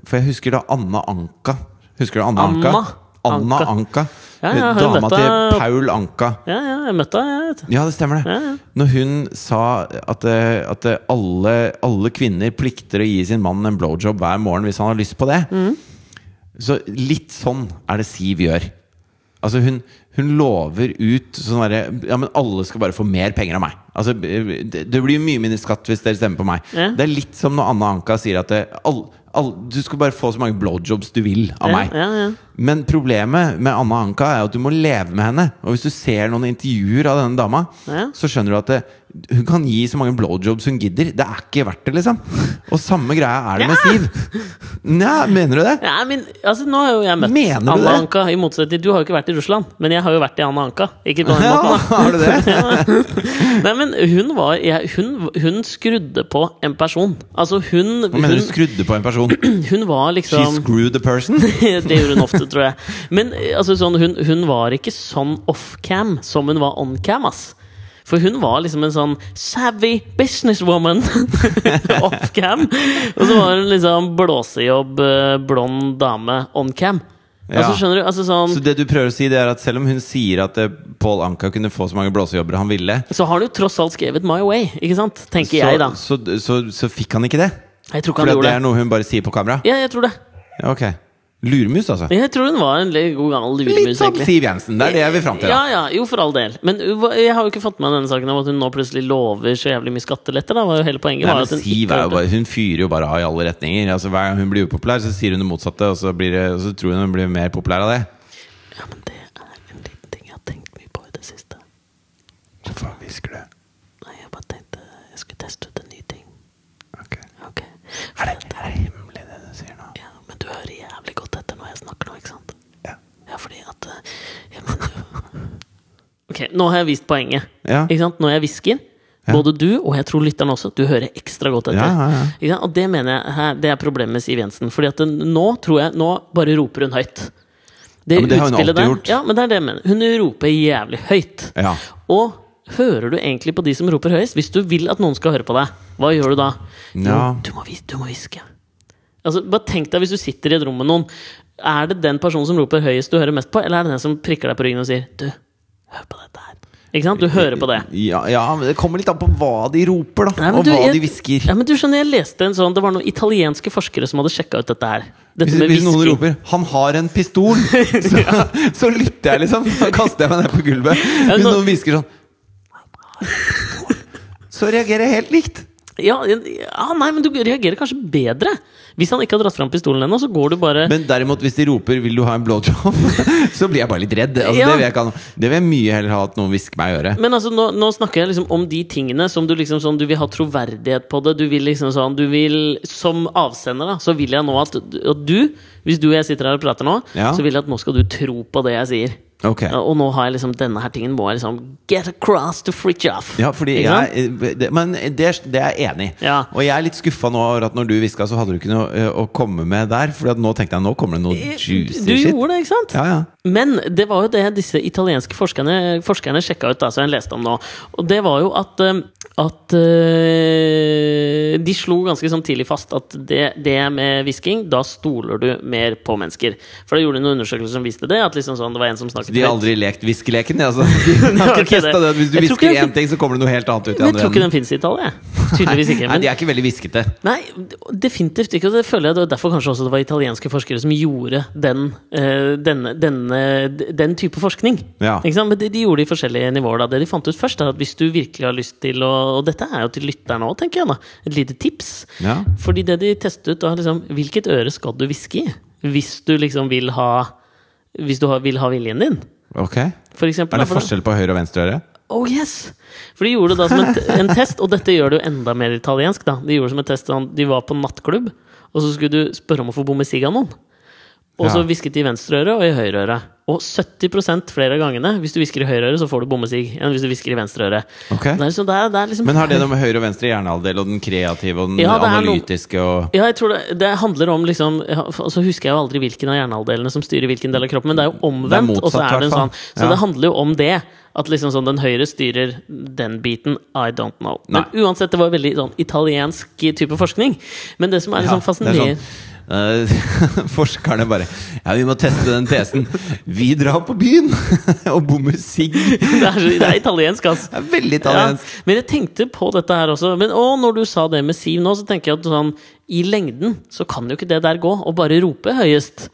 For jeg husker da Anna Anka. Husker du Anna Anka?
Anna
Anna
Anka.
Anka.
Ja, ja, hun
Dama
møtte-
til Paul Anka.
Ja, ja, jeg møtte henne, jeg. vet du.
Ja, det stemmer det.
Ja, ja.
Når hun sa at, eh, at eh, alle, alle kvinner plikter å gi sin mann en blowjob hver morgen hvis han har lyst på det. Så litt sånn er det Siv gjør. Altså hun, hun lover ut sånn derre Ja, men alle skal bare få mer penger av meg. Altså, det, det blir mye mindre skatt hvis dere stemmer på meg.
Ja.
Det er litt som når Anna Anka sier at eh, all, all, du skal bare få så mange blowjobs du vil av
Ja,
meg.
ja, ja.
Men problemet med Anna Anka er jo at du må leve med henne. Og hvis du ser noen intervjuer av denne dama,
Ja.
så skjønner du at det, Hun kan gi så mange blowjobs hun gidder. Det er ikke verdt det, liksom. Og samme greia er det med Siv. Nja, mener du det?
Nei, men altså, nå har jo jeg møtt
Mener du
Anna
det?
Anka, i motsetning Du har jo ikke vært i Russland, men jeg har jo vært i Anna Anka. Ikke på den
Ja,
måten, da.
har du det?
Nei, men hun var jeg, hun, hun skrudde på en person. Altså, hun
Hva mener du
Hun,
skrudde på en person?
hun var
She
liksom
screwed the person?
det gjorde hun ofte, tror jeg. Men eh, altså, sånn, hun, hun var ikke sånn off-cam som hun var on-cam. ass for hun var liksom en sånn savvy businesswoman off-cam. Og så var hun liksom blåsejobb, eh, blond dame on-cam.
Ja.
Altså, skjønner du? Altså, sånn,
Så det du prøver å si, det er at selv om hun sier at eh, Paul Anka kunne få så mange blåsejobber han ville,
så har du tross alt skrevet 'My Way', ikke sant? Tenker jeg, da.
så, så, så, så fikk han ikke det?
Jeg tror ikke
For
han
det
gjorde
er
det.
noe hun bare sier på kamera?
Ja, jeg tror det.
Ja, Ok. Luremus, altså.
Jeg tror hun var en le- god gammel
Litt sånn
luremus,
som
egentlig.
Siv Jensen. Det er det jeg vil fram til.
Ja,
Da.
ja, jo, for all del. Men hun var- jeg har jo ikke fått med meg denne saken om at hun nå plutselig lover så jævlig mye skatteletter. Da. var jo hele poenget
Nei,
var
men
at hun
Siv
ikke
er jo
hørte.
bare, hun fyrer jo bare av i alle retninger. Altså, hver gang hun blir upopulær, så sier hun det motsatte, og så, blir det, og så tror hun hun blir mer populær av det.
Ja, men det er en liten ting jeg har tenkt mye på i det siste.
Hvorfor hvisker du?
Nei, jeg bare tenkte jeg skulle teste ut en ny ting.
Ok.
Ok.
Er det, er det hemmelig, det du sier nå?
Ja, men du hører jævlig godt etter når jeg snakker nå, ikke sant?
Ja.
Ja, fordi at eh, jeg mener jo Ok, nå har jeg vist poenget.
Ja.
Ikke sant? Når jeg hvisker, både du og jeg tror lytteren også, du hører ekstra godt etter.
Ja, ja, ja.
Ikke sant? Og det mener jeg her, det er problemet med Siv Jensen. Fordi at den, nå tror jeg Nå bare roper hun høyt.
Ja, men det har hun
utspillet
alltid gjort.
Ja, men det er det jeg mener. Hun roper jævlig høyt.
Ja.
Og hører du egentlig på de som roper høyest? Hvis du vil at noen skal høre på deg, hva gjør du da? Jo,
Ja.
Du må hvis- du må hviske. Altså, bare tenk deg hvis du sitter i et rom med noen. Er det den personen som roper høyest du hører mest på, eller er det den som prikker deg på ryggen og sier 'du, hør på dette her'? Ikke sant? Du hører på det.
Ja, ja, men det kommer litt an på hva de roper, da.
Nei, men
og
du,
hva
jeg-
de hvisker.
Ja, men du skjønner, jeg leste en sånn Det var noen italienske forskere som hadde sjekka ut dette her. Dette
Hvis,
med
hvis noen
hvisking.
roper 'han har en pistol', så, så lytter jeg, liksom. Da kaster jeg meg ned på gulvet. Hvis
nå-
noen hvisker sånn Så reagerer jeg helt likt.
Ja, ja, nei, men du reagerer kanskje bedre. Hvis han ikke har dratt fram pistolen ennå, så går du bare
Men derimot, hvis de roper 'vil du ha en blowjob', så blir jeg bare litt redd. Altså,
Ja.
det, vil jeg ikke, ha noe- det vil jeg mye heller ha at noen hvisker meg i øret.
Men altså, nå, nå snakker jeg liksom om de tingene som du liksom sånn Du vil ha troverdighet på det. Du vil liksom sånn Du vil Som avsender, da, så vil jeg nå at, at du Hvis du og jeg sitter her og prater nå,
Ja.
så vil jeg at nå skal du tro på det jeg sier.
Ok
Ja, Og nå har jeg liksom denne her tingen må jeg liksom Get across to Fridtjof.
Ja, fordi
Ikke sant?
jeg, eh, det, Men det, det er jeg enig i.
Ja.
Og jeg er litt skuffa nå over at når du hviska, så hadde du ikke noe eh, å komme med der. For nå tenkte jeg nå kommer det noe juicy
Eh, Du
shit.
gjorde det, ikke sant?
Ja, ja.
Men det var jo det disse italienske forskerne, forskerne sjekka ut, da, som jeg leste om nå. Og det var jo at, eh, at eh, De slo ganske sånn tidlig fast at det, det med hvisking, da stoler du mer på mennesker. For da gjorde de noen undersøkelser som viste det. At liksom sånn, det var en som snakket
De har
høyt.
aldri lekt hviskeleken. de, Altså. De har
Ok,
ikke testet det.
det-
at Hvis du
Jeg tror
hvisker
ikke den
én ting, så kommer det noe helt annet ut i
Men jeg
andre
tror ikke
enden.
den fins i Italia. Tydeligvis ikke.
Nei,
Men
de er ikke veldig hviskete.
Nei, definitivt ikke. Og det føler jeg det var derfor kanskje også det var italienske forskere som gjorde den, eh, denne, denne, d- den type forskning.
Ja.
Ikke sant? Men de, de gjorde det i forskjellige nivåer. Da. Det de fant ut først, er at hvis du virkelig har lyst til å Og dette er jo til lytterne òg, tenker jeg. da Et lite tips.
Ja.
Fordi det de testet ut, da liksom Hvilket øre skal du hviske i? Hvis du liksom vil ha Hvis du har, vil ha viljen din,
Ok Er
for eksempel.
det
da, for-
forskjell på høyre og venstre øre?
Oh yes! For de gjorde det da som en, en test, og dette gjør det jo enda mer italiensk. da De gjorde det som en test, sånn, de var på en nattklubb, og så skulle du spørre om å få bomme sigg av noen. Og så
Ja.
hvisket de i venstre øre og i høyre øre. Og 70 flere av gangene hvis du hvisker i høyre øre, så får du bommesig. Enn hvis du hvisker i venstre øre.
Ok.
Det er liksom, det er, det er liksom
Men har det noe med høyre og venstre hjernehalvdel og den kreative og den
Ja, det er noe-
analytiske og
ja, jeg tror det, det handler om liksom ja, for- altså husker jeg jo aldri hvilken av hjernehalvdelene som styrer hvilken del av kroppen, men det er jo omvendt.
Det er motsatt,
og så er det en
hvertfall.
sånn Så
Ja.
det handler jo om det. At liksom sånn den høyre styrer den biten. I don't know. Men uansett, det var veldig sånn italiensk type forskning. Men det som er
Ja,
liksom
det er
fascinerende
sånn, eh, forskerne bare Ja, vi må teste den tesen. Vi drar på byen og bommer sigg. Det
det, er, så- det er italiensk, altså.
er veldig italiensk.
Ja, men jeg tenkte på dette her også. Men å, når du sa det med Siv nå, så tenker jeg at sånn I lengden så kan jo ikke det der gå, og bare rope høyest.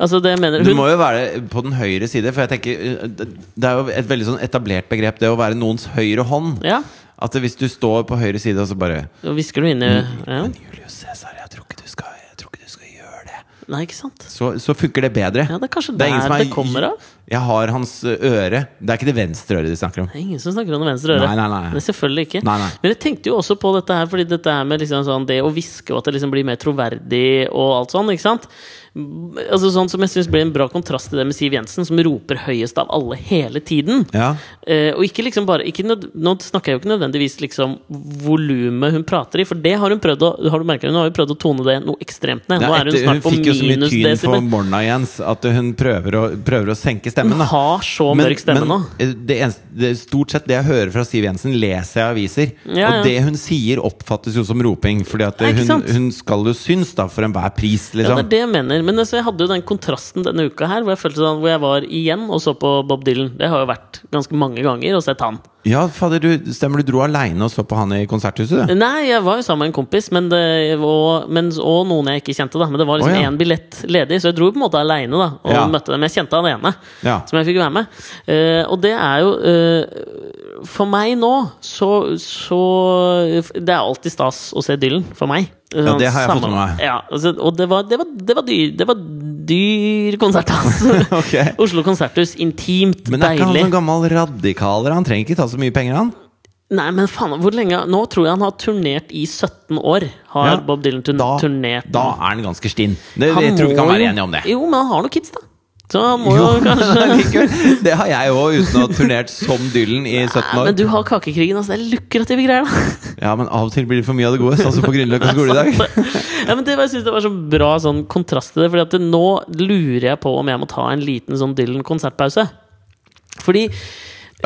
Altså, det mener
Du
hun.
må jo være på den høyre side, for jeg tenker eh, Det er jo et veldig sånn etablert begrep, det å være noens høyre hånd.
Ja,
At hvis du står på høyre side og så bare
hvisker du inn i ja.
Mm. Julius Cæsar, jeg tror ikke du skal Jeg tror ikke du skal gjøre det.
Nei, ikke sant?
så, så funker det bedre.
Ja, det er kanskje
Det er ingen som
der
er-
det kommer av.
Jeg har hans øre. Det er ikke det venstre øret de snakker om.
Det er ingen som snakker om det venstre øret.
Nei, nei, nei.
Men selvfølgelig ikke.
Nei, nei.
Men jeg tenkte jo også på dette her, fordi dette her med liksom sånn det å hviske og at det liksom blir mer troverdig og alt sånn, ikke sant? Altså Sånn som jeg syns blir en bra kontrast til det med Siv Jensen, som roper høyest av alle hele tiden.
Ja.
Eh, og ikke liksom bare ikke nød, Nå snakker jeg jo ikke nødvendigvis liksom volumet hun prater i, for det har hun prøvd å Har du merket, det? hun har jo prøvd å tone det noe ekstremt ned. Nå
Ja,
er hun
etter-
snart på
fikk jo så mye
minus
tyn for
desibel.
morgenen Jens at hun prøver å, prøver å senke stemmen.
Hun
Da.
har så mørk stemme nå.
eh, det eneste, det, stort sett det jeg hører fra Siv Jensen, leser jeg i aviser.
Ja, ja.
Og det hun sier, oppfattes jo som roping. Fordi at
Ja, ikke
hun,
sant?
hun skal jo synes, da, for enhver pris,
Ja,
liksom.
det er det jeg mener. Men altså, jeg hadde jo den kontrasten denne uka her, hvor jeg følte sånn, hvor jeg var igjen og så på Bob Dylan. Det har jo vært ganske mange ganger og sett han.
Ja, fader, du, stemmer du dro aleine og så på han i konserthuset, du?
Nei, jeg var jo sammen med en kompis, men det, og, men, og noen jeg ikke kjente, da. Men det var liksom
Å,
én
ja.
billett ledig, så jeg dro på en måte aleine, da. Og
Ja.
møtte dem. Jeg kjente han ene.
Ja.
Som jeg fikk være med. Eh, og det er jo eh, For meg nå så, så Det er alltid stas å se Dylan, for meg.
Ja, det har jeg fått med meg.
Ja, altså, og det var, det, var, det, var dyr, det var dyr konsert, altså.
Ok.
Oslo Konserthus. Intimt,
Men er ikke han
deilig.
noen gammel radikaler? Han trenger ikke ta så mye penger, han.
Nei, men faen, hvor lenge Nå tror jeg han har turnert i 17 år. Har
Ja,
Bob Dylan turn
Da,
turnert
da er han ganske stinn. Det,
Han
jeg tror vi kan
må
være
jo-
enige om det.
Jo, men han har noen kids, da. Så han må jo
Jo,
kanskje
likevel. Det har jeg òg, uten å ha turnert som Dylan i 17
Nei,
år.
Men du har kakekrigen, altså. Det er lukrative greier, da.
Ja, men av og til blir det for mye av det gode, sånn som på Grünerløkka skole i dag.
ja, men det, var- jeg synes det var så bra sånn kontrast til det. Fordi at det, nå lurer jeg på om jeg må ta en liten sånn Dylan-konsertpause. Fordi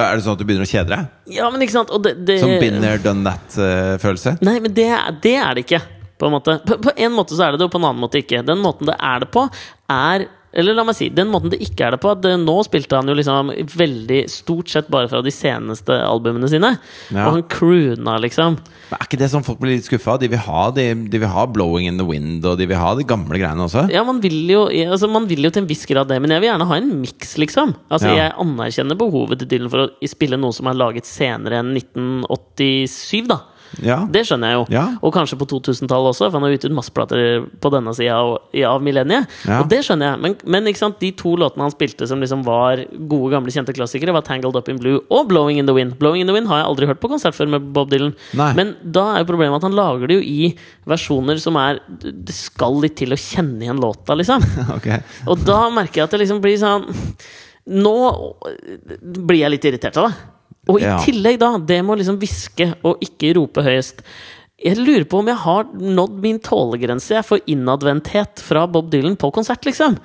Er det sånn at du begynner å kjede deg?
Ja, men ikke sant og det, det,
Som been there, done that-følelse?
Nei, men det, er- det er det ikke. På en, måte. På, på en måte så er det det, og på en annen måte ikke. Den måten det er det på, er Eller la meg si, den måten det ikke er det på at det, Nå spilte han jo liksom veldig stort sett bare fra de seneste albumene sine.
Ja.
Og han croona, liksom.
Men er ikke det sånn folk blir litt skuffa? De vil ha de, de vil ha 'Blowing in the Wind', og de vil ha de gamle greiene også?
Ja, man vil, jo, ja, altså, man vil jo til en viss grad det, men jeg vil gjerne ha en miks, liksom.
Ja.
Altså, Jeg anerkjenner behovet til Dylan for å spille noe som er laget senere enn 1987, da.
Ja.
Det skjønner jeg jo.
Ja.
Og kanskje på 2000-tallet også, for han har utgitt masse plater på denne sida av, av millenniet.
Ja.
Og det skjønner jeg. Men, men ikke sant, de to låtene han spilte som liksom var gode, gamle, kjente klassikere, var 'Tangled Up In Blue' og 'Blowing In The Wind'. 'Blowing In The Wind' har jeg aldri hørt på konsert før med Bob Dylan.
Nei.
Men da er jo problemet at han lager det jo i versjoner som er Det skal litt til å kjenne igjen låta, liksom.
Ok.
Og da merker jeg at det liksom blir sånn Nå blir jeg litt irritert av det. Og i
Ja.
tillegg, da, det med å liksom hviske og ikke rope høyest Jeg lurer på om jeg har nådd min tålegrense jeg, for innadvendthet fra Bob Dylan på konsert, liksom.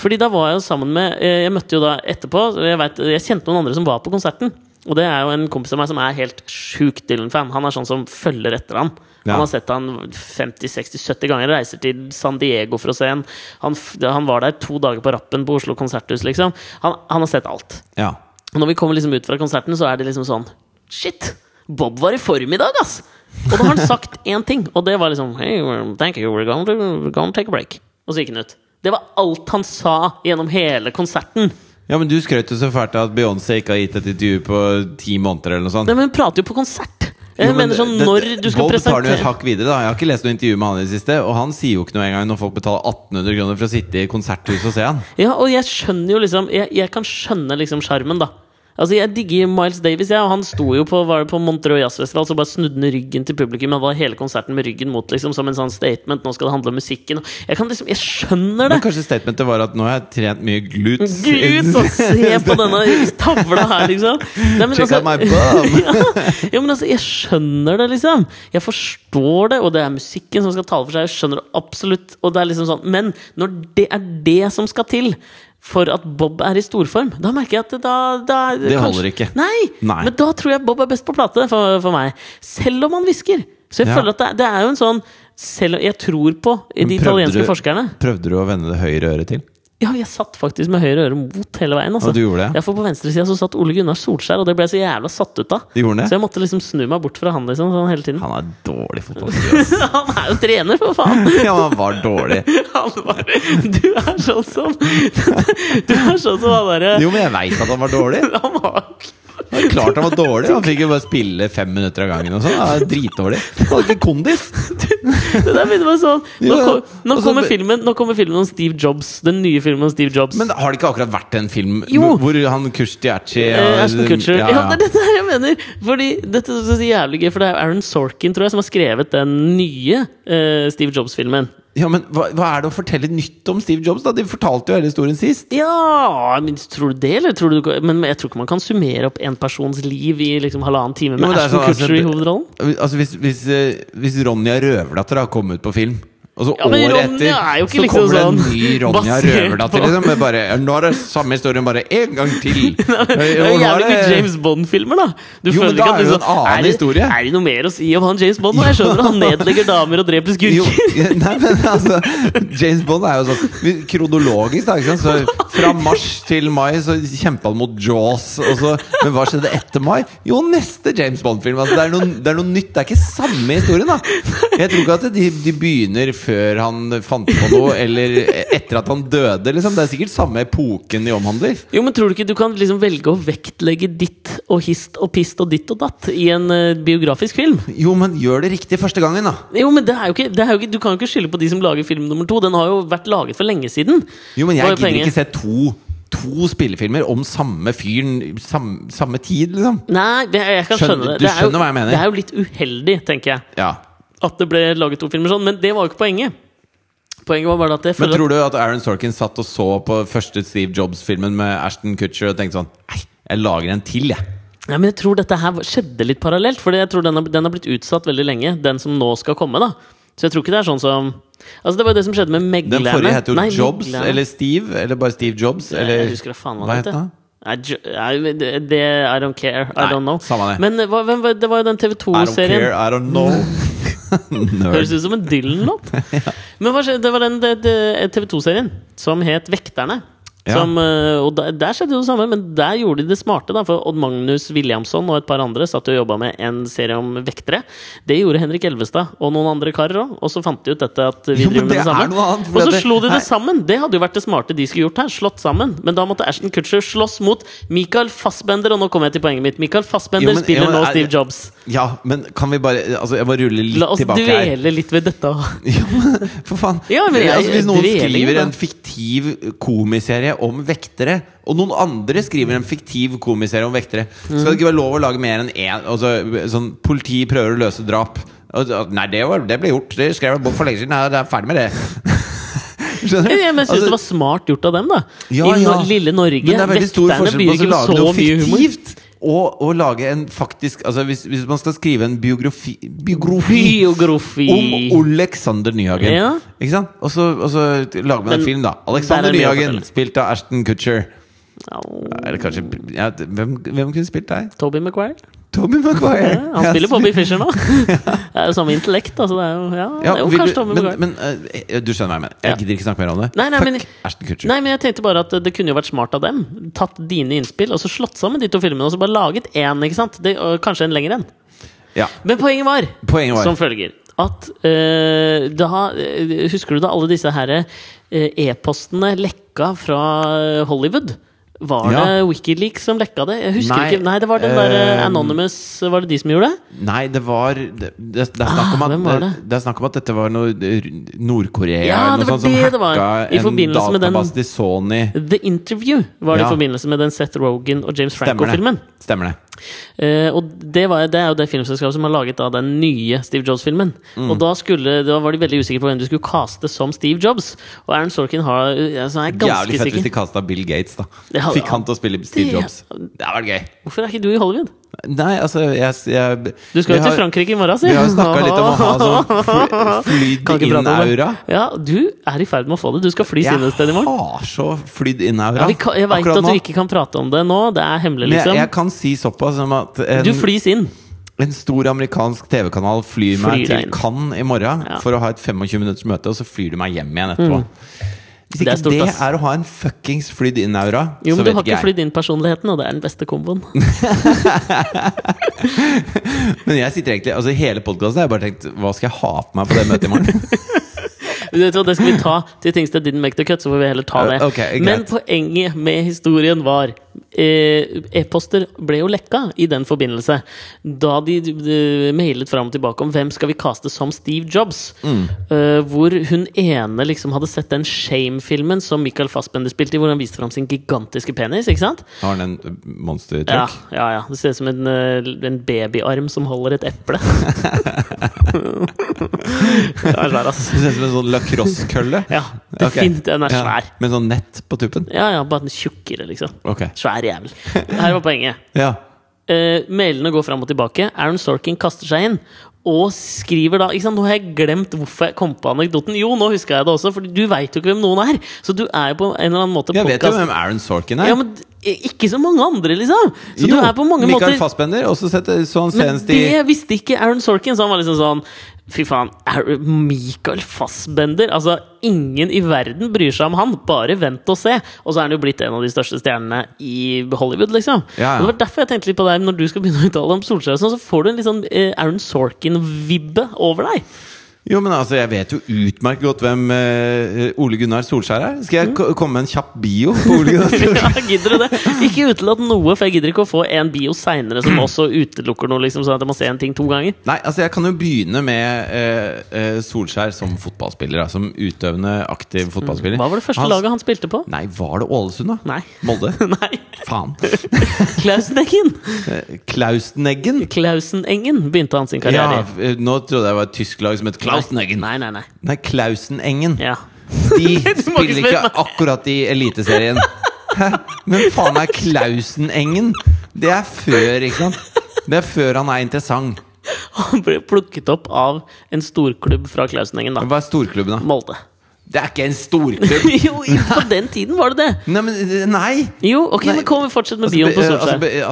Fordi da var jeg jo sammen med eh, Jeg møtte jo da etterpå Jeg, vet, jeg kjente noen andre som var på konserten. Og det er jo en kompis av meg som er helt sjukt Dylan-fan. Han er sånn som følger etter han.
Ja.
Han har sett han 50-60-70 ganger, reiser til San Diego for å se han. Han, f- han var der to dager på rappen på Oslo konserthus, liksom. Han, han har sett alt.
Ja.
Og når vi kommer liksom ut fra konserten, så er det liksom sånn Shit! Bob var i form i dag, ass! Og da har han sagt én ting, og det var liksom Hey, well, thank you, we're going to, we're going to take a break. Og så gikk han ut. Det var alt han sa gjennom hele konserten.
ja, men du skrøt jo så fælt av at Beyoncé ikke har gitt et intervju på ti måneder, eller noe sånt.
Nei, men hun prater jo på konsert! Jeg
Jo, men
mener sånn,
det-
når
det-
du skal
Bob tar det jo et
presentere
hakk videre, da. Jeg har ikke lest noe intervju med han i det siste, og han sier jo ikke noe engang når folk betaler 1800 kroner for å sitte i konserthuset og se han.
Ja, og jeg skjønner jo liksom Jeg, jeg kan skjønne liksom sjarmen, da. Altså, Jeg digger Miles Davis, jeg, og han sto jo på, var det på Montreux Jazzfestival så bare snudde han ryggen til publikum. Han var hele konserten med ryggen mot, liksom, som en sånn statement. Nå skal det handle om musikken. Jeg kan liksom, jeg skjønner det!
Men kanskje statementet var at nå har jeg trent mye glutes.
Gud, så se på denne tavla her, liksom! Nei, men
Check out my bum!
ja, ja, men altså, jeg skjønner det, liksom. Jeg forstår det, og det er musikken som skal tale for seg. Jeg skjønner det absolutt. Og det er liksom sånn, men når det er det som skal til for at Bob er i storform, da merker jeg at det- da, da
Det holder ikke.
Nei,
Nei.
Men da tror jeg Bob er best på plate for, for meg. Selv om han hvisker. Så jeg
Ja.
føler at det, er- det er jo en sånn selv, Jeg tror på de
Men prøvde
italienske
du-
forskerne.
Prøvde du å vende det høyre øret til?
Ja, jeg satt faktisk med høyre øre mot hele veien. Altså.
Og du gjorde det?
Ja, for på venstresida så satt Ole Gunnar Solskjær, og det ble jeg så jævla satt ut av.
Du gjorde det?
Så jeg måtte liksom snu meg bort fra han liksom, sånn hele tiden.
Han er dårlig fotballspiller. ass.
Han er jo trener, for faen!
ja, men han var dårlig.
Han bare Du er sånn som Du er sånn som han derre
Jo, men jeg veit at han var dårlig.
Han var
Det er klart han var dårlig. Han fikk jo bare spille fem minutter av gangen. og sånn Han er Dritdårlig. Han hadde ikke kondis!
Det der begynner med sånn Nå,
Ja, Altså,
kom, nå,
og så-
kommer filmen, nå kommer filmen om Steve Jobs. Den nye filmen om Steve Jobs.
Men har det ikke akkurat vært en film
Jo.
hvor han Kushti Achi
Eh, Ashton Kutcher. Ja, det er dette her jeg mener! Fordi dette synes jeg er jævlig gøy For det er Aaron Sorkin tror jeg som har skrevet den nye eh, Steve Jobs-filmen.
Ja, men hva, hva er det å fortelle nytt om Steve Jobs, da? De fortalte jo hele historien sist.
Ja men Tror du det, eller? Tror du, men jeg tror ikke man kan summere opp en persons liv i liksom halvannen time med
Jo, men det er
Ashton
sånn, altså,
Kutcher i hovedrollen.
Altså Hvis, hvis, eh, hvis Ronja Røverdatter har kommet ut på film og så
Ja, men
Året
Ronja er
etter så
jo ikke liksom
kommer det en
sånn
ny Ronja
basert på-
Røverdatter. Liksom, med bare, nå er det samme historien bare én gang til! Og
Det er jo
nå er
jævlig mye
det-
James Bond-filmer, da! Du
Jo, men da er
det
det jo en annen
er, det,
historie.
er det noe mer å si om han James Bond? Og jeg skjønner at han nedlegger damer og dreper
Jo,
skurker.
nei, men altså James Bond er jo sånn vi- kronologisk. da, ikke sant? Så Fra mars til mai så kjempa han mot Jaws. Og så, men hva skjedde etter mai? Jo, neste James Bond-film. Altså, det, er noe- det er noe nytt. Det er ikke samme historien. da Jeg tror ikke at de, de begynner før han fant på noe, eller etter at han døde. Liksom. Det er sikkert samme epoken de omhandler.
Jo, men tror du ikke du kan liksom velge å vektlegge ditt og hist og pist og ditt og datt i en eh, biografisk film?
Jo, men gjør det riktig første gangen, da.
Jo, men det er jo ikke, det er jo ikke, Du kan jo ikke skylde på de som lager film nummer to. Den har jo vært laget for lenge siden.
Jo, men
Hva
jeg
er
gidder
poenget?
ikke se to To spillefilmer om samme fyren samme, samme tid, liksom.
Nei, det, jeg kan
Skjønner-
skjønne det.
du
Det er, jo,
skjønner hva jeg mener.
det er jo litt uheldig, tenker jeg.
Ja
At det ble laget to filmer sånn. Men det var jo ikke poenget. Poenget var bare at jeg
Men
føler at
tror du at Aaron Sorkin satt og så på første Steve Jobs-filmen med Ashton Kutcher og tenkte sånn Nei, jeg lager en til, jeg.
Nei, men jeg tror dette her var- skjedde litt parallelt. For jeg tror den har, den har blitt utsatt veldig lenge, den som nå skal komme. da Så jeg tror ikke det er sånn som Altså Det var jo det som skjedde med meglerne.
Den forrige het jo
Nei,
Jobs,
Meglerne.
eller Steve, eller bare Steve Jobs, eller
Jeg husker da faen hva
hva
den
het
heter.
den?
Nei, jo, nei, det, det I don't care. I
Nei,
don't know.
samme det.
Men eh, hva, hvem, var- det var jo den
I don't care,
TV2-serien.
I don't know.
Høres
Nerd.
ut som en Dylan-låt. Men hva skjedde, det var den det- det- TV2-serien som het Vekterne.
Ja.
Som, eh, og der, der skjedde jo det samme, men der gjorde de det smarte. Da, for Odd Magnus Williamson og et par andre satt og jobba med en serie om vektere. Det gjorde Henrik Elvestad og noen andre karer òg. Og så fant de ut dette at vi
Jo, men
driver med
det
det samme.
er noe annet, for
og så
det-
slo de
nei.
det sammen! Det hadde jo vært det smarte de skulle gjort her. Slått sammen. Men da måtte Ashton Kutcher slåss mot Michael Fassbender, og nå kommer jeg til poenget mitt. Michael Fassbender
Jo, men-
spiller
jo, men
nå
er-
Steve Jobs.
Ja, men kan vi bare Altså, jeg må rulle litt
La oss
tilbake her.
dvele litt ved dette.
Ja, men for faen.
Ja, men jeg-
altså, hvis noen
dvelingen,
skriver
da.
en fiktiv komiserie om vektere, og noen andre skriver en fiktiv komiserie om vektere, skal det ikke være lov å lage mer enn én? Altså, sånn politi prøver å løse drap. Og, og, nei, det, var, det ble gjort. Det skrev jeg en bok for lenge siden. Nei, det er ferdig med det. Skjønner
Jeg, jeg syns
Altså,
det var smart gjort av dem, da.
Ja,
I
ja.
no lille Norge.
men det er veldig stor
Vekterne
forskjell på å
byr ikke med
lage
så
noe
mye humor.
fiktivt og å lage en faktisk Altså, hvis, hvis man skal skrive en biografi, biografi
Biografi.
om Oleksandr Nyhagen.
Ja.
Ikke sant? Og så, og så lager man
Men
en film, da.
der
Alexander
er mye å
Nyhagen,
fortelle.
spilt av Ashton Kutcher.
Au.
Eller kanskje ja, hvem, hvem kunne spilt deg?
Toby Maguire.
Tommy Maguire!
Ja, han
Ja,
spiller
sp-
Bobby Fischer nå. Det er jo samme intellekt, altså. Det er jo, ja,
Ja,
det er jo
vil
kanskje
du,
Tommy
men,
Maguire.
men eh, du skjønner hva jeg mener. Jeg
Ja.
gidder ikke snakke mer om det.
Nei, nei,
Fuck
men-
Ashton Kutcher.
Nei, men jeg tenkte bare at det kunne jo vært smart av dem. Tatt dine innspill og så slått sammen de to filmene og så bare laget én. ikke sant? Det, og kanskje en lengre en.
Ja,
Men poenget var,
Poenget var-
som følger at eh, da eh, Husker du da alle disse her eh, e-postene lekka fra eh, Hollywood? Var
Ja.
det Wikileaks som lekka det? Jeg husker
Nei,
ikke. Nei, det var den der eh,
eh,
Anonymous Var det de som gjorde det?
Nei, det var Det, det, det, er, snakk om
Ah,
at,
hvem
det,
var det?
er snakk om at dette var noe Nord-Korea
Ja,
eller
det
noe sånt
var
som
det det var.
hacka
I
en
forbindelse med den-
database til Sony.
The Interview var det
Ja.
i forbindelse med den Seth Rogan og James Franco-filmen.
Stemmer det. Stemmer det.
Eh, og det, var, det er jo det filmselskapet som har laget da, den nye Steve Jobs-filmen.
Mm.
Og da, skulle, da var de veldig usikre på hvem du skulle kaste som Steve Jobs. Og Aaron Sorkin har, altså, han er
Jævlig
ganske
fett hvis
sikker.
de kasta Bill Gates, da.
Det hadde-
Fikk han til å spille Steve
Det-
Jobs. Det hadde vært gøy.
Hvorfor er ikke du i Hollywood?
Nei, altså jeg, jeg
Du skal
vi
jo til
har-
Frankrike i morgen, si.
Vi har jo snakka litt om å ha sånn fly-
Kan
flydd
ikke prate om det.
inn-aura.
Ja, du er i ferd med å få det. Du skal fly
Jeg
sine sted i morgen.
har så flydd inn-aura.
Ja, vi kan, jeg veit
akkurat
at du
nå.
ikke kan prate om det nå. Det er hemmelig,
Men jeg,
liksom.
jeg kan si såpass som at
Du
en,
flys inn.
en stor amerikansk TV-kanal flyr meg
Flyr deg
til
inn.
Cannes i morgen
Ja. Mm.
for å ha et 25 minutters møte, og så flyr du meg hjem igjen etterpå. Hvis
Det er
ikke
stort,
det er,
ass.
å ha en fuckings flydd inn-aura,
Jo,
så vet
men du har
ikke
ikke
jeg.
flydd inn personligheten, og det er den beste komboen.
Men jeg sitter egentlig, altså hele podkasten har jeg bare tenkt Hva skal jeg ha på meg på det møtet i morgen?
Du vet hva, Det skal vi ta til things that didn't make the cut, så får vi heller ta det.
Eh, ok, greit.
Men poenget med historien var eh, e-poster ble jo lekka i den forbindelse. Da de, eh, mailet fram og tilbake om hvem skal vi kaste som Steve Jobs.
Mm.
Eh, hvor hun ene liksom hadde sett den Shame-filmen som Michael Fassbender spilte i, hvor han viste fram sin gigantiske penis. ikke sant?
Har den en
Ja,
monstertruck?
ja, ja. Det ser ut som en, eh, en babyarm som holder et eple. det er svær, ass.
Det ser ut som en sånn lacrosse-kølle.
altså. Ja,
Ok.
definitivt. Den er
Ja,
svær.
Med sånn nett på tuppen?
Ja, ja, bare den er tjukkere, liksom.
Ok.
Svær jævel. Her var poenget.
Ja.
Eh, mailene går fram og tilbake. Aaron Sorkin kaster seg inn. Og skriver da ikke sant? Nå har jeg glemt hvorfor jeg kom på anekdoten. Jo, nå husker jeg det også, for du veit jo ikke hvem noen er. Så du er jo på en eller annen måte
Jeg vet jo
podcast-
hvem Aaron Sorkin er.
Ja, men eh, ikke så mange andre, liksom! Så du
Jo,
er på mange
Michael
måter
Fassbender, og så setter- så han
Men
senest i
det visste ikke Aaron Sorkin, så han var liksom sånn Fy faen, Aaron- Michael Fassbender? Altså, ingen i verden bryr seg om han, bare vent og se. Og så er han jo blitt en av de største stjernene i Hollywood, liksom.
Ja, ja.
Og Det var derfor jeg tenkte litt på deg når du skal begynne å uttale om Solskjær, og sånn, så får du en litt sånn eh, Aaron Sorkin-vibbe over deg.
Jo, men altså, jeg vet jo utmerket godt hvem eh, Ole Gunnar Solskjær er. Skal
Mm.
jeg ko- komme med en kjapp bio på Ole Gunnar Solskjær?
ja, gidder du det? Ikke utelat noe, for jeg gidder ikke å få en bio seinere som også utelukker noe, liksom, sånn at jeg må se en ting to ganger.
Nei, altså jeg kan jo begynne med eh, eh, Solskjær som fotballspiller. Da, som utøvende, aktiv fotballspiller.
Hva var det første
Hans-
laget han spilte på?
Nei, var det Ålesund, da?
Nei.
Molde?
Nei,
Faen.
Klausneggen!
Eh, Klauseneggen?
Klausenengen begynte han sin
Ja,
karriere i.
f- eh, nå trodde jeg det var et tysk lag som het Klauseneggen.
Nei, nei, nei.
Nei, Klausenengen.
Ja.
De
må ikke
spiller
spørre
ikke
meg.
akkurat i Eliteserien. Hæ? Men faen er Klausenengen? Det er før, ikke sant? Det er før han er interessant.
Han ble plukket opp av en storklubb fra Klausenengen, da.
Hva er storklubben, da?
Molde.
Det er ikke en storklubb!
jo, i- på den tiden var det det!
Nei, men nei!
Jo, ok, men kom, fortsett med bioen på
Altså, be-
Solskjær.
altså, be-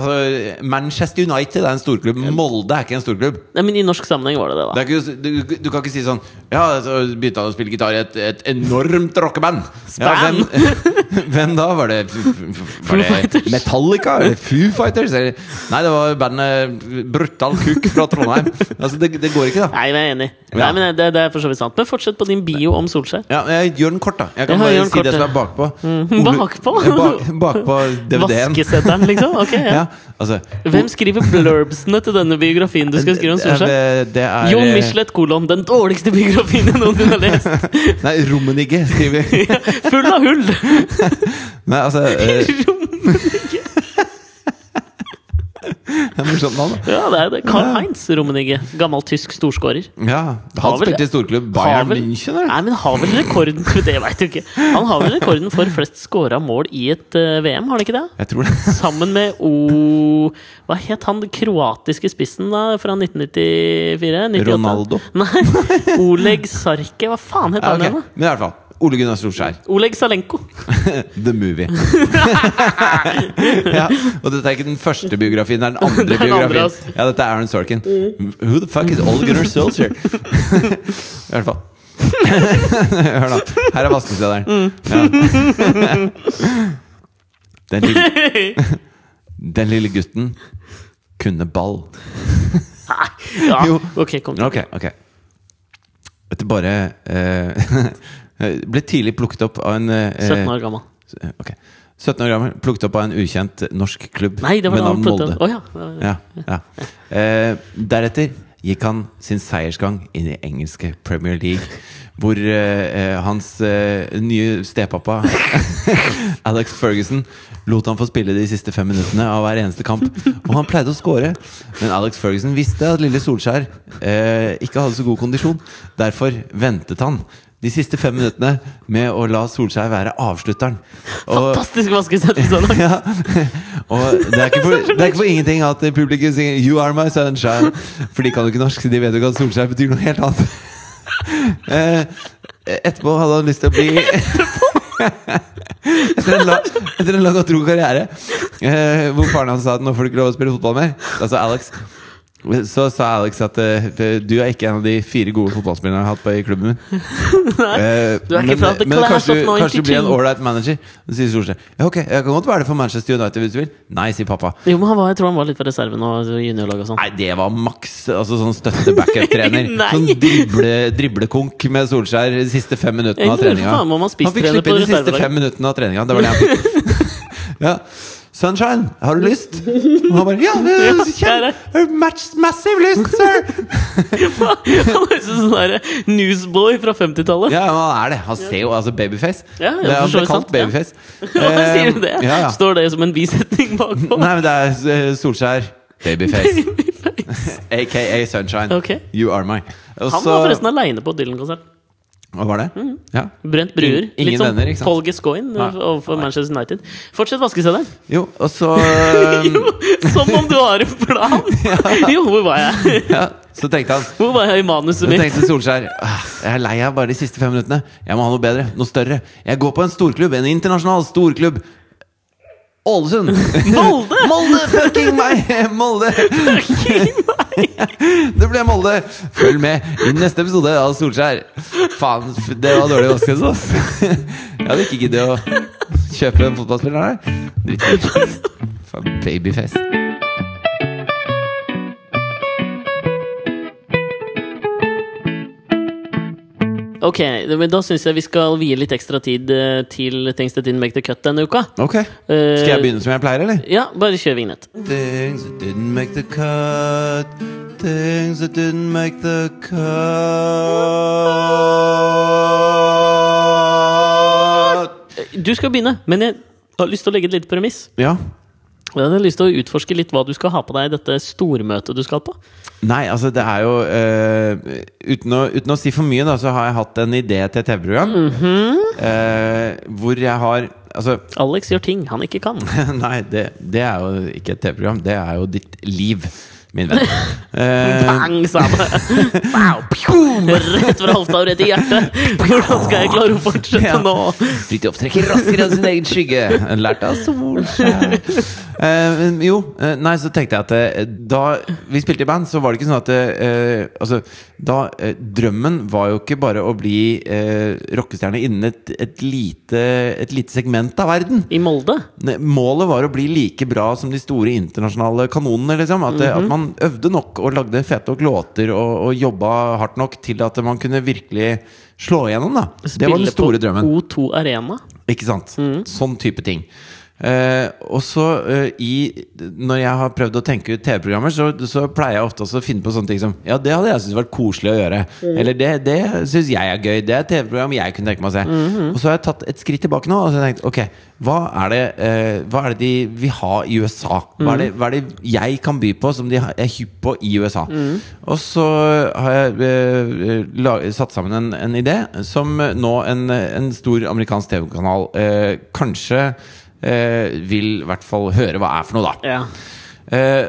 altså, Manchester United er en storklubb. Molde er ikke en storklubb.
Nei, men I norsk sammenheng var det det,
Det
da.
er ikke, du, du kan ikke si sånn Ja, så begynte han å spille gitar i et, et enormt rockeband. Ja,
Span.
hvem, hvem da? Var det, var det
Fighters.
Metallica? Var det Foo Fighters? Eller? Nei, det var bandet Brutal Kuk fra Trondheim. Altså, det, det går ikke, da.
Nei, men jeg er enig. Nei,
Ja.
men det, det er for så vidt sant. Men fortsett på din bio om Solskjær.
Ja, men jeg gjør den kort, da. Jeg
Ja,
kan bare
gjør den
si
kort,
det som
ja. Mm.
er bakpå.
bakpå?
Ja, Bak, bakpå DVD-en.
Vaskesetteren, liksom? Ok, ja.
Ja, altså
Hvem skriver blurbsene til denne biografien du skal skrive om Solskjær?
Det, det er
Jon Michelet, kolon, den dårligste biografien jeg noensinne har lest!
Nei, Rummenigge skriver
Full av hull!
Nei, altså eh,
Rummenigge.
det er Morsomt navn, da.
Ja, det er det. Carl Heinz Rummenigge. Gammel tysk storskårer.
Ja,
Har
han
vel-
spilte i storklubb
Har
Bayern
vel-
München, eller?
Nei, men har vel rekorden Det vet jeg ikke. Han har vel rekorden for flest scora mål i et eh, VM, har han ikke det?
Jeg tror det.
Sammen med O Hva het han den kroatiske spissen da fra 1994? 98?
Ronaldo.
Nei, Oleg Sarke. Hva faen het
Ja,
han
ok.
igjen, da?
Men i hvert fall. Ole Gunnar Solskjær.
Oleg Salenko.
The Movie. ja, og dette er ikke den første biografien, det er den andre
Det er den andre,
biografien.
altså. Mm.
Ja, dette er Aaron Sorkin. Who the fuck is Ole Gunnar Solskjær? I hvert fall. Hør nå. Her er
Mm.
vaskestederen. Ja. Den lille Den lille gutten kunne ball.
Ja,
Jo.
ok, kom
Ok, ok. Etter bare eh, Ble tidlig plukket opp av en eh,
17 år gammel.
ok. 17 år gammel. Plukket opp av en ukjent norsk klubb
Nei, det var
med
da han
navn Molde.
puttet Å ja.
Ja, ja. Eh, deretter gikk han sin seiersgang inn i engelske Premier League, hvor eh, eh, hans eh, nye stepappa, Alex Ferguson, lot han få spille de siste fem minuttene av hver eneste kamp. Og han pleide å score, men Alex Ferguson visste at lille Solskjær eh, ikke hadde så god kondisjon. Derfor ventet han de siste fem minuttene med å la Solskjær være avslutteren. Og,
Fantastisk vaskesettelse! da.
ja. Og det er, ikke for, det er ikke for ingenting at publikum synger 'You are my sunshine'. For de kan jo ikke norsk, så de vet jo ikke at solskjær betyr noe helt annet. Eh, Etterpå hadde han lyst til å bli Etter en, la, etter en lang og tro karriere eh, hvor faren hans sa at 'nå får du ikke lov å spille fotball mer', da sa Alex så sa Alex at eh, du er ikke en av de fire gode fotballspillerne jeg har hatt på i klubben min. Eh,
Du er ikke
men,
fra The
men
Class
kanskje,
of
du- kanskje du blir en
92.
ålreit manager. Så sier Solskjær ja, ok, jeg kan godt være det for Manchester United hvis du vil. Nei, sier pappa.
Jo, men han var, jeg tror han var litt på reserven og juniorlag og sånn.
Nei, det var maks altså sånn støtte-backup-trener.
Nei.
sånn drible, driblekonk med Solskjær de siste fem minuttene av
Jeg lurer
treninga.
faen meg om han spiste
fikk
trener
slippe
på
inn de siste
reservelaget.
fem minuttene av treninga. Det var det han fikk. ja. Sunshine, har du lyst? Og han bare Ja, eh, kjem, eh, match, massive lyst, sir!
Han høres ut som sånn der newsboy fra 50-tallet.
Ja, men han er det. Han ser jo altså babyface.
Ja, ja,
det er, han
for så
ble
vidt
kalt
sant, ja.
babyface.
Hva
Eh,
sier du det?
Ja, ja.
Står det som en bisetning bakpå?
Nei, men det er eh, Solskjær. Babyface. AKA Sunshine.
Ok.
You are my. Og
Han
så-
var forresten aleine på Dylan-konsert.
Hva var det?
Mm.
Ja.
Brent Bruer.
Ingen
Litt som
venner, ikke sant?
Paul Gascoigne eh,
Nei.
overfor Manchester United. Fortsett vaskeseddelen.
Jo, og så um,
Jo, som om du har en plan! Jo, hvor var jeg?
ja, Så tenkte han
Hvor var jeg i manuset
Så
mitt?
tenkte Solskjær «Ah, Jeg er lei av bare de siste fem minuttene. Jeg må ha noe bedre. Noe større. Jeg går på en storklubb. En internasjonal storklubb. Ålesund!
Molde!
Molde! Fucking meg! Molde! Det ble Molde. Følg med i neste episode av Solskjær. Faen, f- det var dårlig vaskelse, ass. Jeg hadde ikke giddet å kjøpe den fotballspilleren her. Drittsekk. Faen, babyface.
Ok, men Da syns jeg vi skal vie litt ekstra tid eh, til Things That Didn't Make The Cut denne uka.
Ok.
Eh,
Skal jeg begynne som jeg pleier, eller?
Ja, bare kjør vignett.
Things that didn't make the cut. Things that didn't make the cut.
Du skal begynne, men jeg har lyst til å legge et lite premiss.
Ja.
Og Jeg har lyst til å utforske litt hva du skal ha på deg i dette stormøtet du skal på.
Nei, altså det er jo eh, uten, å, uten å si for mye, da, så har jeg hatt en idé til et TV-program. eh, hvor jeg har Altså,
Alex gjør ting han ikke kan.
nei, det, det er jo ikke et TV-program. Det er jo ditt liv, min venn. Eh,
Bang, sa det. Wow, pjom, rett fra hofta og rett i hjertet. Hvordan skal jeg klare å fortsette
Ja.
nå?
Fridtjof trekker raskere enn sin egen skygge. Lært av Solskjær. Eh, men jo, eh, nei, så tenkte jeg at eh, da vi spilte i band, så var det ikke sånn at eh, Altså, da eh, Drømmen var jo ikke bare å bli eh, rockestjerne innen et, et, lite, et lite segment av verden.
I Molde?
Ne- Målet var å bli like bra som de store internasjonale kanonene. Liksom. At, eh, at man øvde nok og lagde fete nok låter og, og jobba hardt nok til at man kunne virkelig slå igjennom. Da. Det var den store drømmen.
Spille på O2 Arena?
Ikke sant? Sånn type ting. Eh, og så eh, i Når jeg har prøvd å tenke ut TV-programmer, så, så pleier jeg ofte også å finne på sånne ting som Ja, det hadde jeg syntes vært koselig å gjøre. Eller det, det syns jeg er gøy. Det er et TV-program jeg kunne tenke meg å se. Og så har jeg tatt et skritt tilbake nå og så har jeg tenkt ok, hva er det, eh, hva er det de vil ha i USA? Hva
Mm.
er, det, hva er det jeg kan by på som de ha- er hypp på i USA?
Mm.
Og så har jeg eh, la, satt sammen en, en idé som eh, nå en, en stor amerikansk TV-kanal eh, kanskje eh, vil i hvert fall høre hva er for noe, da.
Ja.
Eh,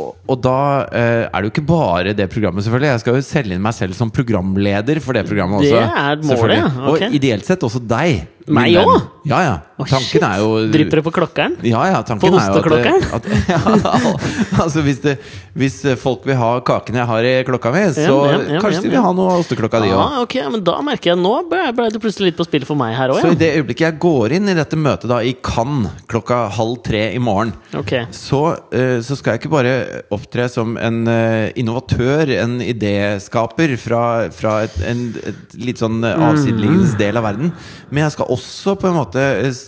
og, og da eh, er det jo ikke bare det programmet, selvfølgelig. Jeg skal jo selge inn meg selv som programleder for det programmet
Det
også.
er målet,
selvfølgelig.
ja. Ok.
Og ideelt sett også deg. min
Meg
venn.
også?
Ja, ja. Tanken er jo
Drypper det på klokkeren?
ja, ja, tanken er jo
På
at- eh,
osteklokkeren?
At, ja, al- altså hvis, det, hvis eh, folk vil ha kaken jeg har i klokka mi, så
Ja, ja, ja,
kanskje
ja,
de
ja.
vil ha noe av osteklokka di òg.
Ah, ok, men da merker jeg Nå ble ble det plutselig litt på spillet for meg her òg,
Så i
ja.
det øyeblikket jeg går inn i dette møtet da i Cannes klokka halv tre i morgen,
Ok.
så, eh, så skal jeg ikke bare opptre som en eh, innovatør, en idéskaper fra, fra et, en et litt sånn eh,
Mm.
avsideliggende del av verden, men jeg skal også på en måte eh, s-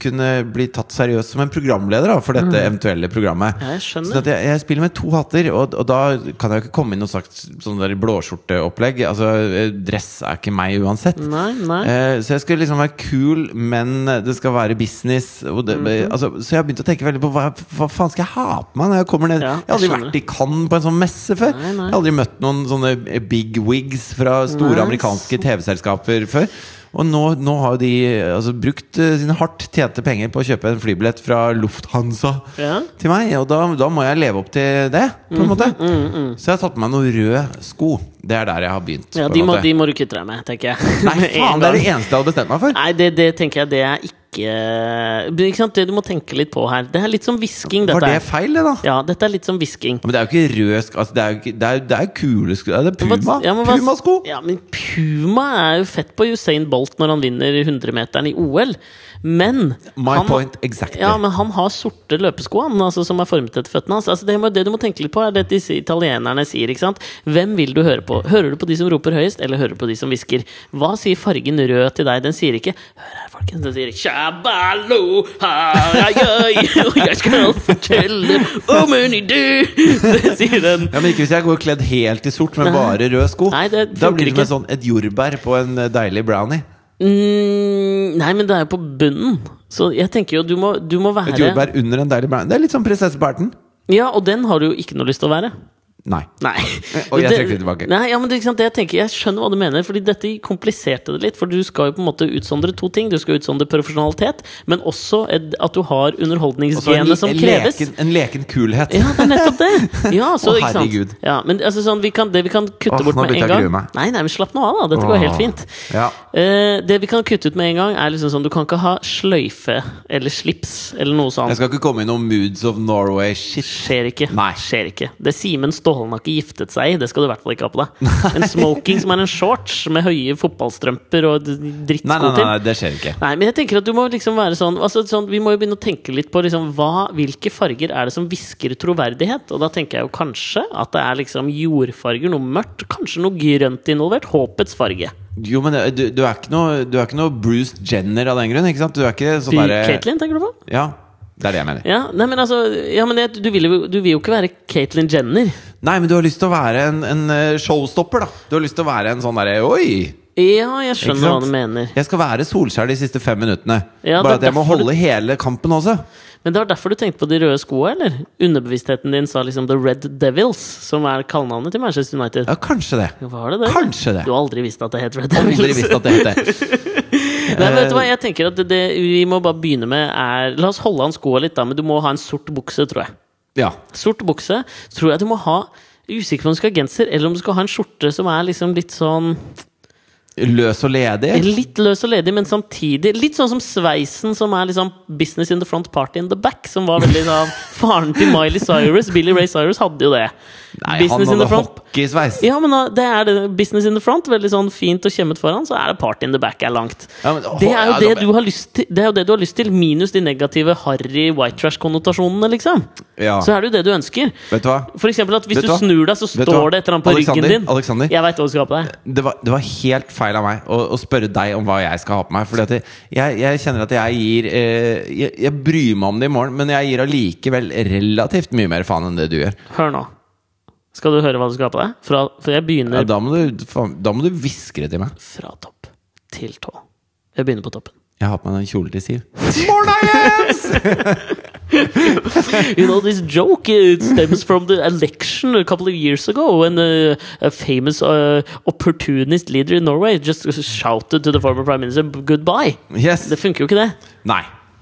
kunne bli tatt seriøst som en programleder da, for dette eventuelle programmet.
Mm. Ja, jeg skjønner.
Sånn at jeg, jeg spiller med to hatter, og, og da kan jeg jo ikke komme inn og sagt sånn der blåskjorteopplegg. Altså, eh, dress er ikke meg uansett.
Nei, nei.
Eh, Så jeg skal liksom være kul, men eh, det skal være business. Og det,
Mhm.
altså, så jeg har begynt å tenke veldig på hva, hva faen skal jeg ha på meg når jeg kommer ned.
Ja,
jeg har aldri
jeg skjønner.
vært i Cannes på en sånn messe før.
Nei, nei.
Jeg har aldri møtt noen sånne eh, big wigs fra store
Nei.
amerikanske TV-selskaper før. Og nå, nå har jo de altså, brukt eh, sine hardt tjente penger på å kjøpe en flybillett fra Lufthansa
Ja. Mhm,
til meg, og da, da må jeg leve opp til det, på en måte. Så jeg har tatt på meg noen røde sko. Det er der jeg har begynt. på
Ja,
en
de må,
måte.
de må du kutte deg med, tenker jeg.
Nei,
Med en
faen, det er
gang.
det eneste jeg hadde bestemt meg for.
Nei, det, det tenker jeg det er ikke Men Ikke sant, det du må tenke litt på her. Det er litt som hvisking,
Var det
dette her.
feil, det, da?
Ja, dette er litt som hvisking.
Men det er jo ikke rød sk... Altså, det er jo ikke, det er, det er jo kule sko. Det er Puma.
Men hva- ja, men hva-
Puma-sko!
Ja, men Puma er jo fett på Usain Bolt når han vinner 100-meteren i OL. Men
My
han,
point exactly.
Ja, men han har sorte løpesko han, altså, som er formet etter føttene hans. Altså, det, må- det du må tenke litt på, er det disse italienerne sier. ikke sant? Hvem vil du høre på? Hører du på de som roper høyest, eller hører du på de som hvisker? Hva sier fargen rød til deg? Den sier ikke 'hør her, folkens'. Den sier 'tja, Kaballo har jeg, og jeg skal fortelle om en idé! Det sier den.
Ja, men Ikke hvis jeg går kledd helt i sort med bare røde sko.
Nei, det
da blir det som
funker ikke.
en sånn, et jordbær på en eh, deilig brownie.
Mm, nei, men det er jo på bunnen. Så jeg tenker jo du må, du må
Et
være
jordbær under en deilig brownie. Det er litt som prinsesse Berten.
Ja, og den har du jo ikke noe lyst til å være.
Nei.
Nei.
Eh, Og jeg
Det-
trekker det tilbake.
Nei, ja, men det, er ikke sant, det jeg, tenker, jeg skjønner hva du mener, Fordi dette kompliserte det litt. For du skal jo på en måte utsondre to ting. Du skal utsondre profesjonalitet, men også et, at du
Og
har
så en,
underholdningsgenet som
en,
kreves.
leken, en leken kulhet.
Ja, det er nettopp det! Ja, så,
Å,
ikke sant?
herregud.
Ja, men altså, sånn, vi kan, det vi kan kutte
Åh,
bort
nå
med
begynte
en
jeg å
gang
grue meg.
Nei, nei, men slapp nå av, da. Dette går helt fint.
Ja.
Eh, det vi kan kutte ut med en gang, er liksom sånn du kan ikke ha sløyfe eller slips eller noe sånt.
Jeg skal ikke komme i noen Moods of Norway-shit.
Skjer ikke.
Nei.
Skjer ikke. Det Simen Stålen har ikke giftet seg i, det skal du i hvert fall ikke ha på deg. En smoking som er en shorts med høye fotballstrømper og d-
Nei, nei,
drittsko
nei,
til.
nei, det skjer ikke.
Nei, men jeg tenker at du må liksom være sånn, altså sånn Vi må jo begynne å tenke litt på liksom, hva, hvilke farger er det som hvisker troverdighet. Og da tenker jeg jo kanskje at det er liksom jordfarger, noe mørkt, kanskje noe grønt involvert. Håpets farge.
Jo, men det- du, du, er ikke noe, du er ikke noe Bruce Jenner av den grunn, ikke sant? Du er ikke
Du,
sånn derre
Caitlyn, tenker du på?
Ja, det er det jeg mener.
Ja, nei, men altså, ja, men jeg, du, vil jo, du vil jo ikke være Caitlyn Jenner.
Nei, men du har lyst til å være en, en eh, showstopper, da. Du har lyst til å være en sånn derre Oi!
Ja, jeg
Ikke
skjønner hva
sant?
du mener.
Jeg skal være Solskjær de siste fem minuttene.
Ja,
Bare at
det er
jeg må
derfor du-
holde hele kampen også.
Men det var derfor du tenkte på de røde skoa, eller? Underbevisstheten din sa liksom The Red Devils, som er kallenavnet til Manchester United.
Ja, kanskje det.
Var det det?
Kanskje det.
Du har aldri visst at det het Red Devils.
Aldri visst at det het det.
Nei, men vet du hva, jeg tenker at det, det vi må bare begynne med er La oss holde an skoa litt, da, men du må ha en sort bukse, tror jeg.
Ja.
Sort bukse tror jeg du må ha jeg er Usikker på om du skal ha genser, eller om du skal ha en skjorte som er liksom litt sånn
Løs og ledig.
Eh, Litt løs og ledig, men samtidig litt sånn som sveisen som er liksom business in the front, party in the back. Som var veldig sånn Faren til Miley Cyrus, Billy Ray Cyrus, hadde jo det.
Nei,
business
han
in the
hadde
front.
hockeysveis.
Ja, men da- det er det. Business in the front, veldig sånn fint og kjemmet foran, så er det party in the back er langt.
Ja, men-
Det er jo
ja,
det
da-
du har lyst til, det er jo det du har lyst til minus de negative harry white trash-konnotasjonene, liksom.
Ja.
Så er det jo det du ønsker.
Vet du hva?
For eksempel at hvis
Vet du
du
hva?
snur deg, så
Vet du hva?
står det et eller annet på
Alexander,
ryggen din.
Alexander.
Jeg veit hva du skal ha på deg.
Det var, det var helt feil av meg å, å spørre deg om hva jeg skal ha på meg. Fordi at jeg, jeg, jeg kjenner at jeg gir eh, jeg, jeg bryr meg om det i morgen, men jeg gir allikevel relativt mye mer faen enn det du gjør.
Hør nå. Skal du høre hva du skal ha på deg? Fra, for jeg
Ja,
begynner
da må du faen- da må du hviske det til meg.
fra topp til tå. Jeg begynner på toppen.
Jeg har på meg en kjole til Siv.
You know, this joke eh, it stems from the election a couple of years ago when uh, a famous uh, opportunist leader in Norway just shouted to the former prime minister goodbye.
Yes.
Det funker jo ikke, det.
Nei.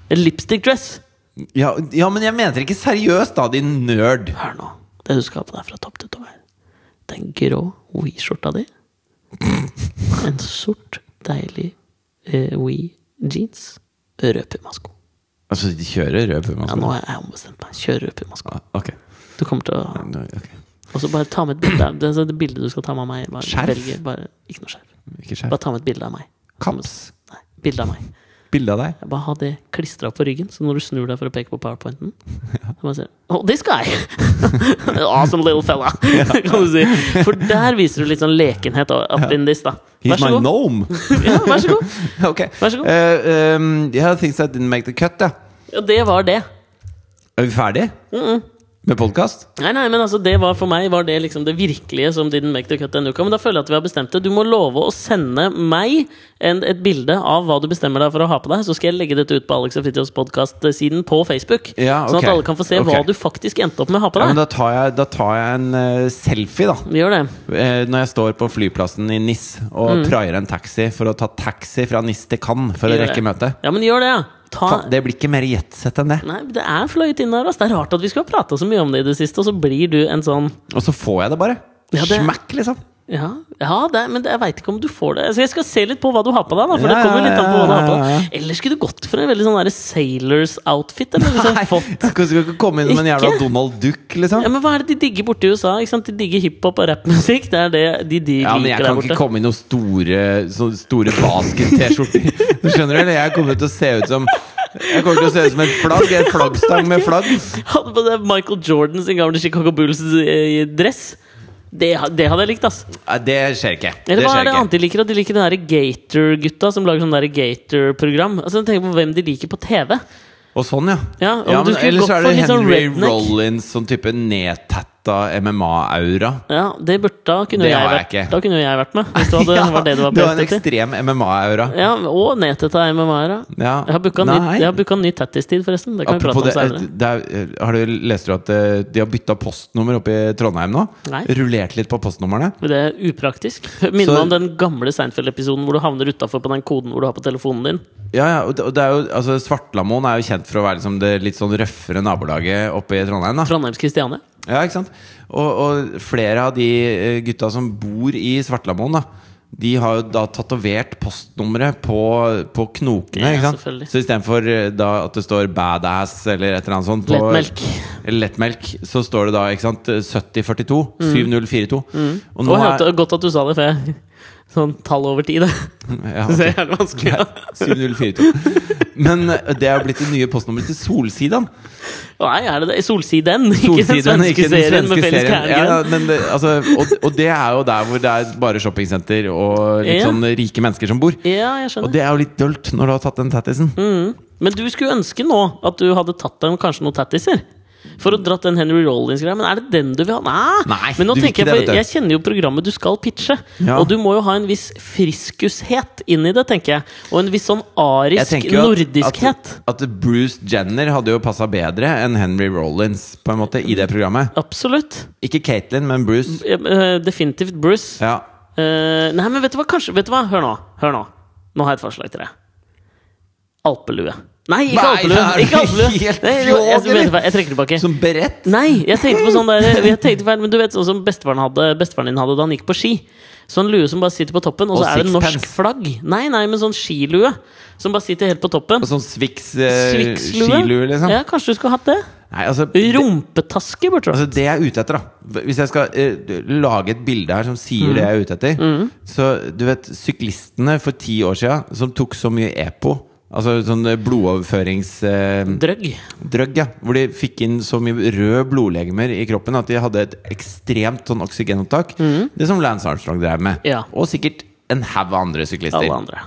En lipstick dress.
Ja, ja, men jeg mener ikke seriøst, da, din nerd.
Hør nå. Det du skal ha på deg fra topp til tå, er den grå Wii-skjorta di. En sort, deilig uh, Wii-jeans. Rød pumasko.
Altså, de kjører rød puma?
Ja, nå har jeg ombestemt meg. Kjør rød pumasko.
Ah, altså. Ok.
Du kommer til å
Nå- ok.
Og så bare ta med et bilde av det, er det bildet du skal ta med av meg. Bare,
Skjerf?
velge- bare, ikke noe skjerf.
Ikke skjerf.
Bare ta med et bilde av meg.
Kaps.
Nei, bilde av meg.
Bilde av deg.
Jeg Bare ha det klistra på ryggen, så når du snur deg for å peke på powerpointen så bare ser du, Oh, this guy! awesome little fella! kan du si. For der viser du litt sånn lekenhet og up in this, da. Vær
He's
så
my
god.
gnome!
Ja, vær så god.
ok.
Vær så god.
Eh, um, yeah, things that didn't make the cut, ja.
Ja, det var det.
Er vi ferdig? Med podkast?
Nei, nei, men altså, det var for meg var det liksom det virkelige som didn't make the cut denne uka. Men da føler jeg at vi har bestemt det. Du må love å sende meg en, et bilde av hva du bestemmer deg for å ha på deg. Så skal jeg legge dette ut på Alex og Fridtjofs podkast-siden på Facebook.
Ja,
Sånn
ok.
at alle kan få se hva
Ok.
du faktisk endte opp med å ha på
Ja, men
deg.
da tar jeg, da tar jeg en eh, selfie, da.
Vi gjør det.
Eh, når jeg står på flyplassen i Nis
Mm.
og traier en taxi for å ta taxi fra Nis til Cannes for å
Gjør
rekke
det.
møtet.
Ja, men gjør det, ja. Ta
Faen, Det blir ikke mer jetsett enn det.
Nei, det er fløyet inn der, ass. Det er rart at vi skulle ha prata så mye om det i det siste, og så blir du en sånn
Og så får jeg det bare.
Ja, det-
Smack, liksom.
Ja, ja det, er- men det, jeg veit ikke om du får det. Altså, jeg skal se litt på hva du har på deg. da For
Ja,
det kommer litt an på hva du har på
ja, ja,
deg Ellers skulle du gått for en veldig sånn der sailors-outfit. eller liksom fått-
Du skal ikke komme inn som en jævla
Ikke?
Donald Duck, liksom.
Ja, men Hva er det de digger borte i USA? Ikke sant? De digger hiphop og rappmusikk. Det er det de, de
Ja, men jeg
liker der
kan ikke
borte.
komme i noen store, sånne store basket-T-skjorter. Du skjønner eller? Jeg kommer til å se ut som Jeg kommer til å se ut som et flagg. En flaggstang med flagg.
Hadde på deg Michael Jordan sin gamle Chicago Bulls-dress. eh, Det, ha- det hadde jeg likt, ass.
Nei, det skjer ikke. Det
Eller hva
skjer
er det annet
ikke.
de liker? At de liker den derre Gator-gutta som lager sånn derre Gator-program. Altså, tenk på hvem de liker på TV.
Og sånn, ja.
Ja, om du
men
skulle
Ellers
gått
er
for
det
litt sånn
Henry
redneck.
Rollins, sånn type nedtatta MMA-aura.
Ja, det burde da kunne
Det
jeg
har jeg
vært
ikke.
Da kunne jeg vært med. Hvis det hadde, var det du var
du
på
har en
jakt etter.
ekstrem MMA-aura.
Ja, og nettet til MMA-er. da.
Ja.
Jeg har booka ny,
Nei.
jeg har booka ny tattis-tid, forresten. Det kan vi
Apropos
prate om
det, eh,
senere.
det er, har du lest du at eh, de har bytta postnummer oppe i Trondheim nå?
Nei.
Rullert litt på postnumrene?
Men Det er upraktisk. Minner
Så-
meg om den gamle Seinfeld-episoden hvor du havner utafor på den koden hvor du har på telefonen din.
Ja, ja, og det- og det er jo, altså Svartlamoen er jo kjent for å være liksom det litt sånn røffere nabolaget oppe i Trondheim. da
Trondheims Kristiane.
Ja, ikke sant? Og, og flere av de eh, gutta som bor i Svartlamoen, da, de har jo da tatovert postnummeret på, på knokene.
Ja,
ikke sant?
selvfølgelig.
Så istedenfor eh, da at det står 'badass' eller et eller annet sånt på
Lettmelk.
eller lettmelk, så står det da ikke sant? 7042. 7042. Og
Og
nå
Mm.
er
jeg hørte godt at du sa det, for jeg Sånn tall over tid, det.
ja,
Det er jævlig vanskelig.
Nei,
Ja.
7042. Men eh, det er jo blitt det nye postnummeret til Solsidan.
Nei, er det det? Solsiden, ikke den
Solsiden,
svenske
ikke den
serien
svenske
med felles
serien. Ja,
kærlighet.
ja, men det, altså, og, og det er jo der hvor det er bare shoppingsenter og litt
Ja.
sånn rike mennesker som bor.
Ja, jeg
Og
skjønner.
det er jo litt dølt når du har tatt den tattisen.
Mm. Men du skulle ønske nå at du hadde tatt deg kanskje noen tattiser. For å dratt den Henry Rollins-greia. Men er det den du vil ha? Nei!
Nei,
men nå
du vil ikke
tenker
det,
jeg,
vet du.
for jeg kjenner jo programmet du skal pitche.
Ja.
Og du må jo ha en viss friskushet inn i det, tenker jeg. Og en viss sånn arisk
jo at-
nordiskhet.
At, at Bruce Jenner hadde jo passa bedre enn Henry Rollins på en måte i det programmet.
Absolutt.
Ikke Caitlyn, men Bruce.
Eh, eh, Definitivt Bruce.
Ja.
Eh, nei, men vet du hva? Kanskje, vet du hva? Hør nå. Hør nå. nå har jeg et forslag til deg. Alpelue. Nei, ikke
Nei,
alpelue!
er du
Ikke alpelue.
helt
Nei, jeg, jeg,
fjong,
vet du hva? jeg trekker tilbake.
Som beredt.
Nei, jeg tenkte på sånn der Jeg tenkte på, men du vet sånn som bestefaren, hadde, bestefaren din hadde da han gikk på ski. Sånn lue som bare sitter på toppen, og
Og
så er det norsk
sixpence.
flagg. Nei, nei, men sånn skilue som bare sitter helt på toppen.
Og sånn Swix eh, skilue, liksom.
Ja, kanskje du skulle hatt det?
Nei, altså,
Rumpetaske, burde du ha.
Altså Det jeg er ute etter, da Hvis jeg skal eh, lage et bilde her som
Mm.
sier det jeg er ute etter Så du vet, syklistene for ti år siden som tok så mye EPO Altså sånn blodoverføringsdrøgg,
Drøgg.
ja. Hvor de fikk inn så mye røde blodlegemer i kroppen at de hadde et ekstremt sånn oksygenopptak. Det som Lance Armstrong drev med.
Mm. Ja.
Og sikkert en haug av andre syklister.
Alle andre.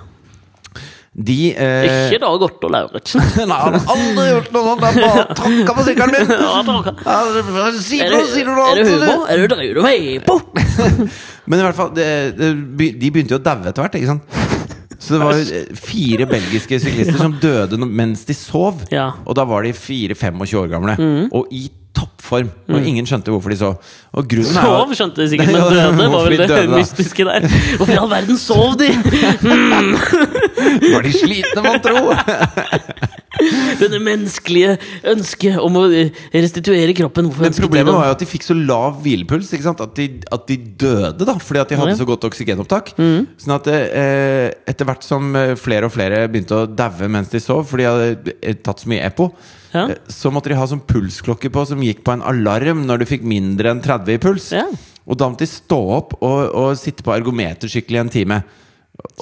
De eh,
Ikke Dag Otto Lauritzen.
Nei, han har aldri gjort noe sånt! Han bare tråkka på sykkelen min!
Ja, Dag-
Ja, Sier
Er
du
det,
noe, sier du noe
er det
annet, eller?
humor? Er det drøy du meg på?
Men i hvert fall, det, det, be- de begynte jo å daue etter hvert, ikke sant? Så det var jo eh, fire belgiske syklister som døde no- mens de sov.
Ja.
Og da var de 4-25 år gamle. Og i toppform. Og ingen skjønte hvorfor de sov. Og grunnen er jo
Sov, skjønte jeg sikkert, men
Ja,
døde var
hvorfor
vel
de
det
døde, da?
mystiske der. Hvorfor i all verden sov de?
Var de slitne, mon tro?
Denne menneskelige ønsket om å restituere kroppen. Hvorfor
Men
ønsket de
problemet
den?
var jo at de fikk så lav hvilepuls ikke sant? At, de, at de døde, da. Fordi at de hadde
Ja. Mm.
så godt oksygenopptak. Sånn at eh, etter hvert som eh, flere og flere begynte å daue mens de sov, for de hadde eh, tatt så mye EPO,
Ja.
eh, så måtte de ha sånn pulsklokke på som gikk på en alarm når du fikk mindre enn 30 i puls.
Ja.
Og da måtte de stå opp og, og sitte på ergometersykkel i en time.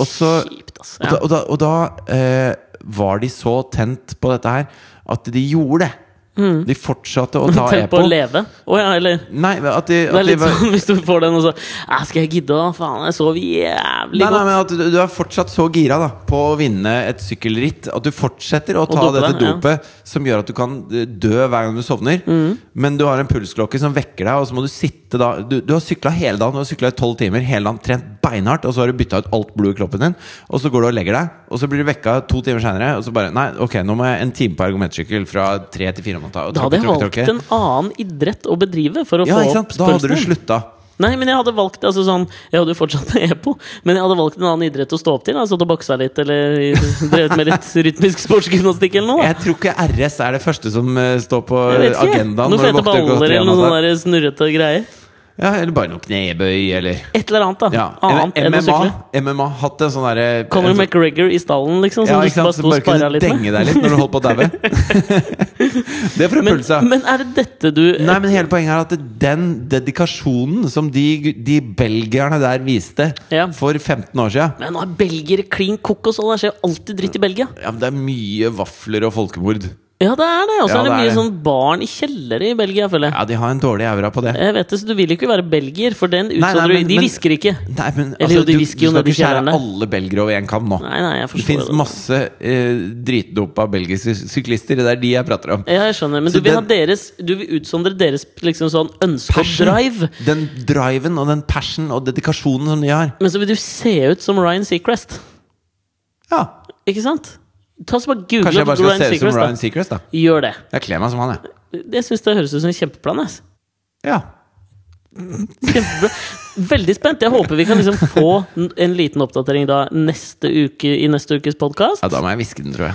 Og så
Kjipt, altså. ass.
og da, og da, og da eh, var de så tent på dette her at de gjorde det. De fortsatte å ta
Ja. Tenk Mm. på
EPO.
å leve. Å ja, eller
Nei, men at de,
Det
at
er
de
litt
var,
sånn hvis du får den, og så «Æ, Skal jeg gidde, da? Faen, jeg sov jævlig
Nei, nei,
godt.
men at du, du er fortsatt så gira da på å vinne et sykkelritt at du fortsetter å ta
dope
dette
deg, ja.
dopet som gjør at du kan eh, dø hver gang du sovner.
Mm.
Men du har en pulsklokke som vekker deg, og så må du sitte da Du, du har sykla hele dagen, du har syklet i tolv timer, hele dagen, trent beinhardt, og så har du bytta ut alt blodet i kroppen din, og så går du og legger deg, og så blir du vekka to timer seinere, og så bare Nei, ok, nå må jeg en time på argumentsykkel fra tre til fire om natta. og
Da hadde
tråkke,
jeg
tråkke,
valgt
tråkke.
en annen idrett å bedrive for å
Ja,
få
ikke
opp
sant? Da hadde du
pulsen.
slutta.
Nei, men jeg hadde valgt altså sånn, Jeg hadde jo fortsatt med EPO, men jeg hadde valgt en annen idrett å stå opp til. Altså å boksa litt, eller drevet med litt rytmisk sportsgymnastikk eller noe. da.
Jeg tror ikke RS er det første som eh, står på
Jeg vet ikke.
agendaen. når
Noen
du
fete
våkner klokka
baller
tre
eller
om
noen
natta.
sånne der snurrete greier.
Ja, eller bare noe knebøy, eller
Et eller annet, da.
ja.
Annet
eller
enn å
MMA,
sykle.
MMA hatt en sånn derre en
Conor
sånn-
McGregor i stallen, liksom,
ja,
som du
ikke sant,
bare
som
sto og
bare
sparra
kunne
litt med.
denge deg litt når du holdt på å daue. det er for å
Men,
pulse.
men er det dette du
Nei, men hele poenget er at den dedikasjonen som de, de belgierne der viste
Ja.
for 15 år siden
Men nå sånn, er belgiere klin kokos, og det skjer jo alltid dritt i Belgia.
ja, men Det er mye vafler og folkemord.
Ja, det er det! Og så
Ja,
er det
det er
mye
det.
sånn barn i kjellere i Belgia, føler jeg.
Ja, de har en dårlig aura på det.
Jeg vet det, så Du vil jo ikke være belgier, for den
nei,
utsondrer du
men-
De
men-
hvisker ikke.
Nei, men
Eller
altså,
jo,
du,
de
du
hvisker jo
skal
ned i
ikke skjære
kjellerne.
alle belgere over én kam nå.
Nei, nei, jeg
Det
forstår
fins masse eh, dritdopa belgiske syklister. Det er de jeg prater om.
Ja, jeg skjønner, men
Så
du vil, ha
den-
deres, du vil utsondre deres liksom sånn ønske og
Passion.
drive.
Den driven og den passion og dedikasjonen som de har.
Men så vil du se ut som Ryan Seacrest.
Ja,
Ikke sant? Ta så bare Google
Kanskje jeg bare
opp
skal
Ryan
se ut som
Seacrest.
Ryan
da.
Seacrest, da.
Gjør det.
Jeg kler meg som han, jeg.
Det syns det høres ut som en kjempeplan. ass.
Ja.
Kjempebra. Veldig spent. Jeg håper vi kan liksom få n- en liten oppdatering da neste uke i neste ukes podkast.
ja, da må jeg hviske den, tror jeg.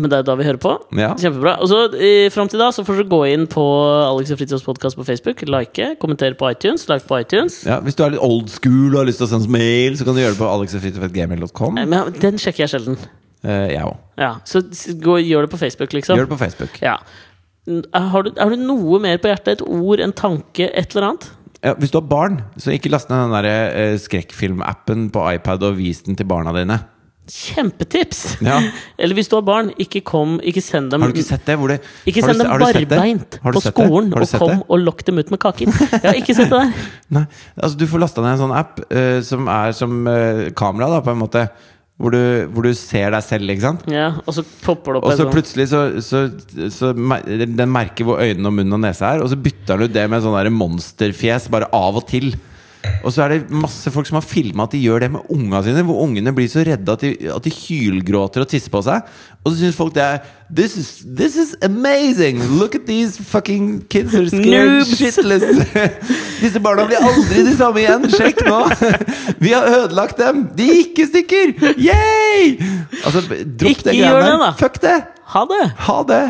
Men det er da vi hører på.
Ja.
Kjempebra. Og så eh, Fram til da så får du gå inn på Alex og Fritjofs podkast på Facebook. Like, kommentere på iTunes. Like på iTunes.
Ja, hvis du er litt old school og har lyst til å sende oss mail, så kan du gjøre det på alexogfritofetgmail.com.
Nei, Eh, Men den sjekker jeg sjelden.
Eh, jeg òg.
Ja, Så s- gå, gjør det på Facebook, liksom.
Gjør det på Facebook.
Ja. N- eh, Har du, har du noe mer på hjertet? Et ord, en tanke, et eller annet?
Ja, hvis du har barn, så ikke last ned den der, eh, skrekkfilmappen på iPad og vis den til barna dine.
Kjempetips!
Ja.
Eller hvis du har barn, ikke kom, ikke send dem
Har du ikke sett det? Hvor det
Mm. Ikke
har du
send
se-
dem
har du sett det?
barbeint
Har du
på
sett det?
skolen
Har du
og
sett
kom
det?
og lokk dem ut med kaker. Jeg har ikke sett det der.
Nei, altså du får lasta ned en sånn app eh, som er som eh, kamera, da, på en måte. Hvor du, hvor du ser deg selv, ikke sant?
Ja, og så popper det opp
Og så
en sånn
plutselig så, så, så mer- Den merker hvor øynene og munnen og nesa er, og så bytter den ut det med sånn der monsterfjes bare av og til. Og så er det masse folk som har filma at de gjør det med unga sine. Hvor ungene blir så redde at de, at de hylgråter og tisser på seg. Og så syns folk det er this is, this is amazing! Look at these fucking kids are scared
Noobs!»
shitless! Disse barna blir aldri de samme igjen! Sjekk nå! Vi har ødelagt dem! De gikk i stykker! Yay! Altså, dropp
Ikke
det
gjør
greiene
det, da.
der. Fuck det!
Ha det!
Ha det!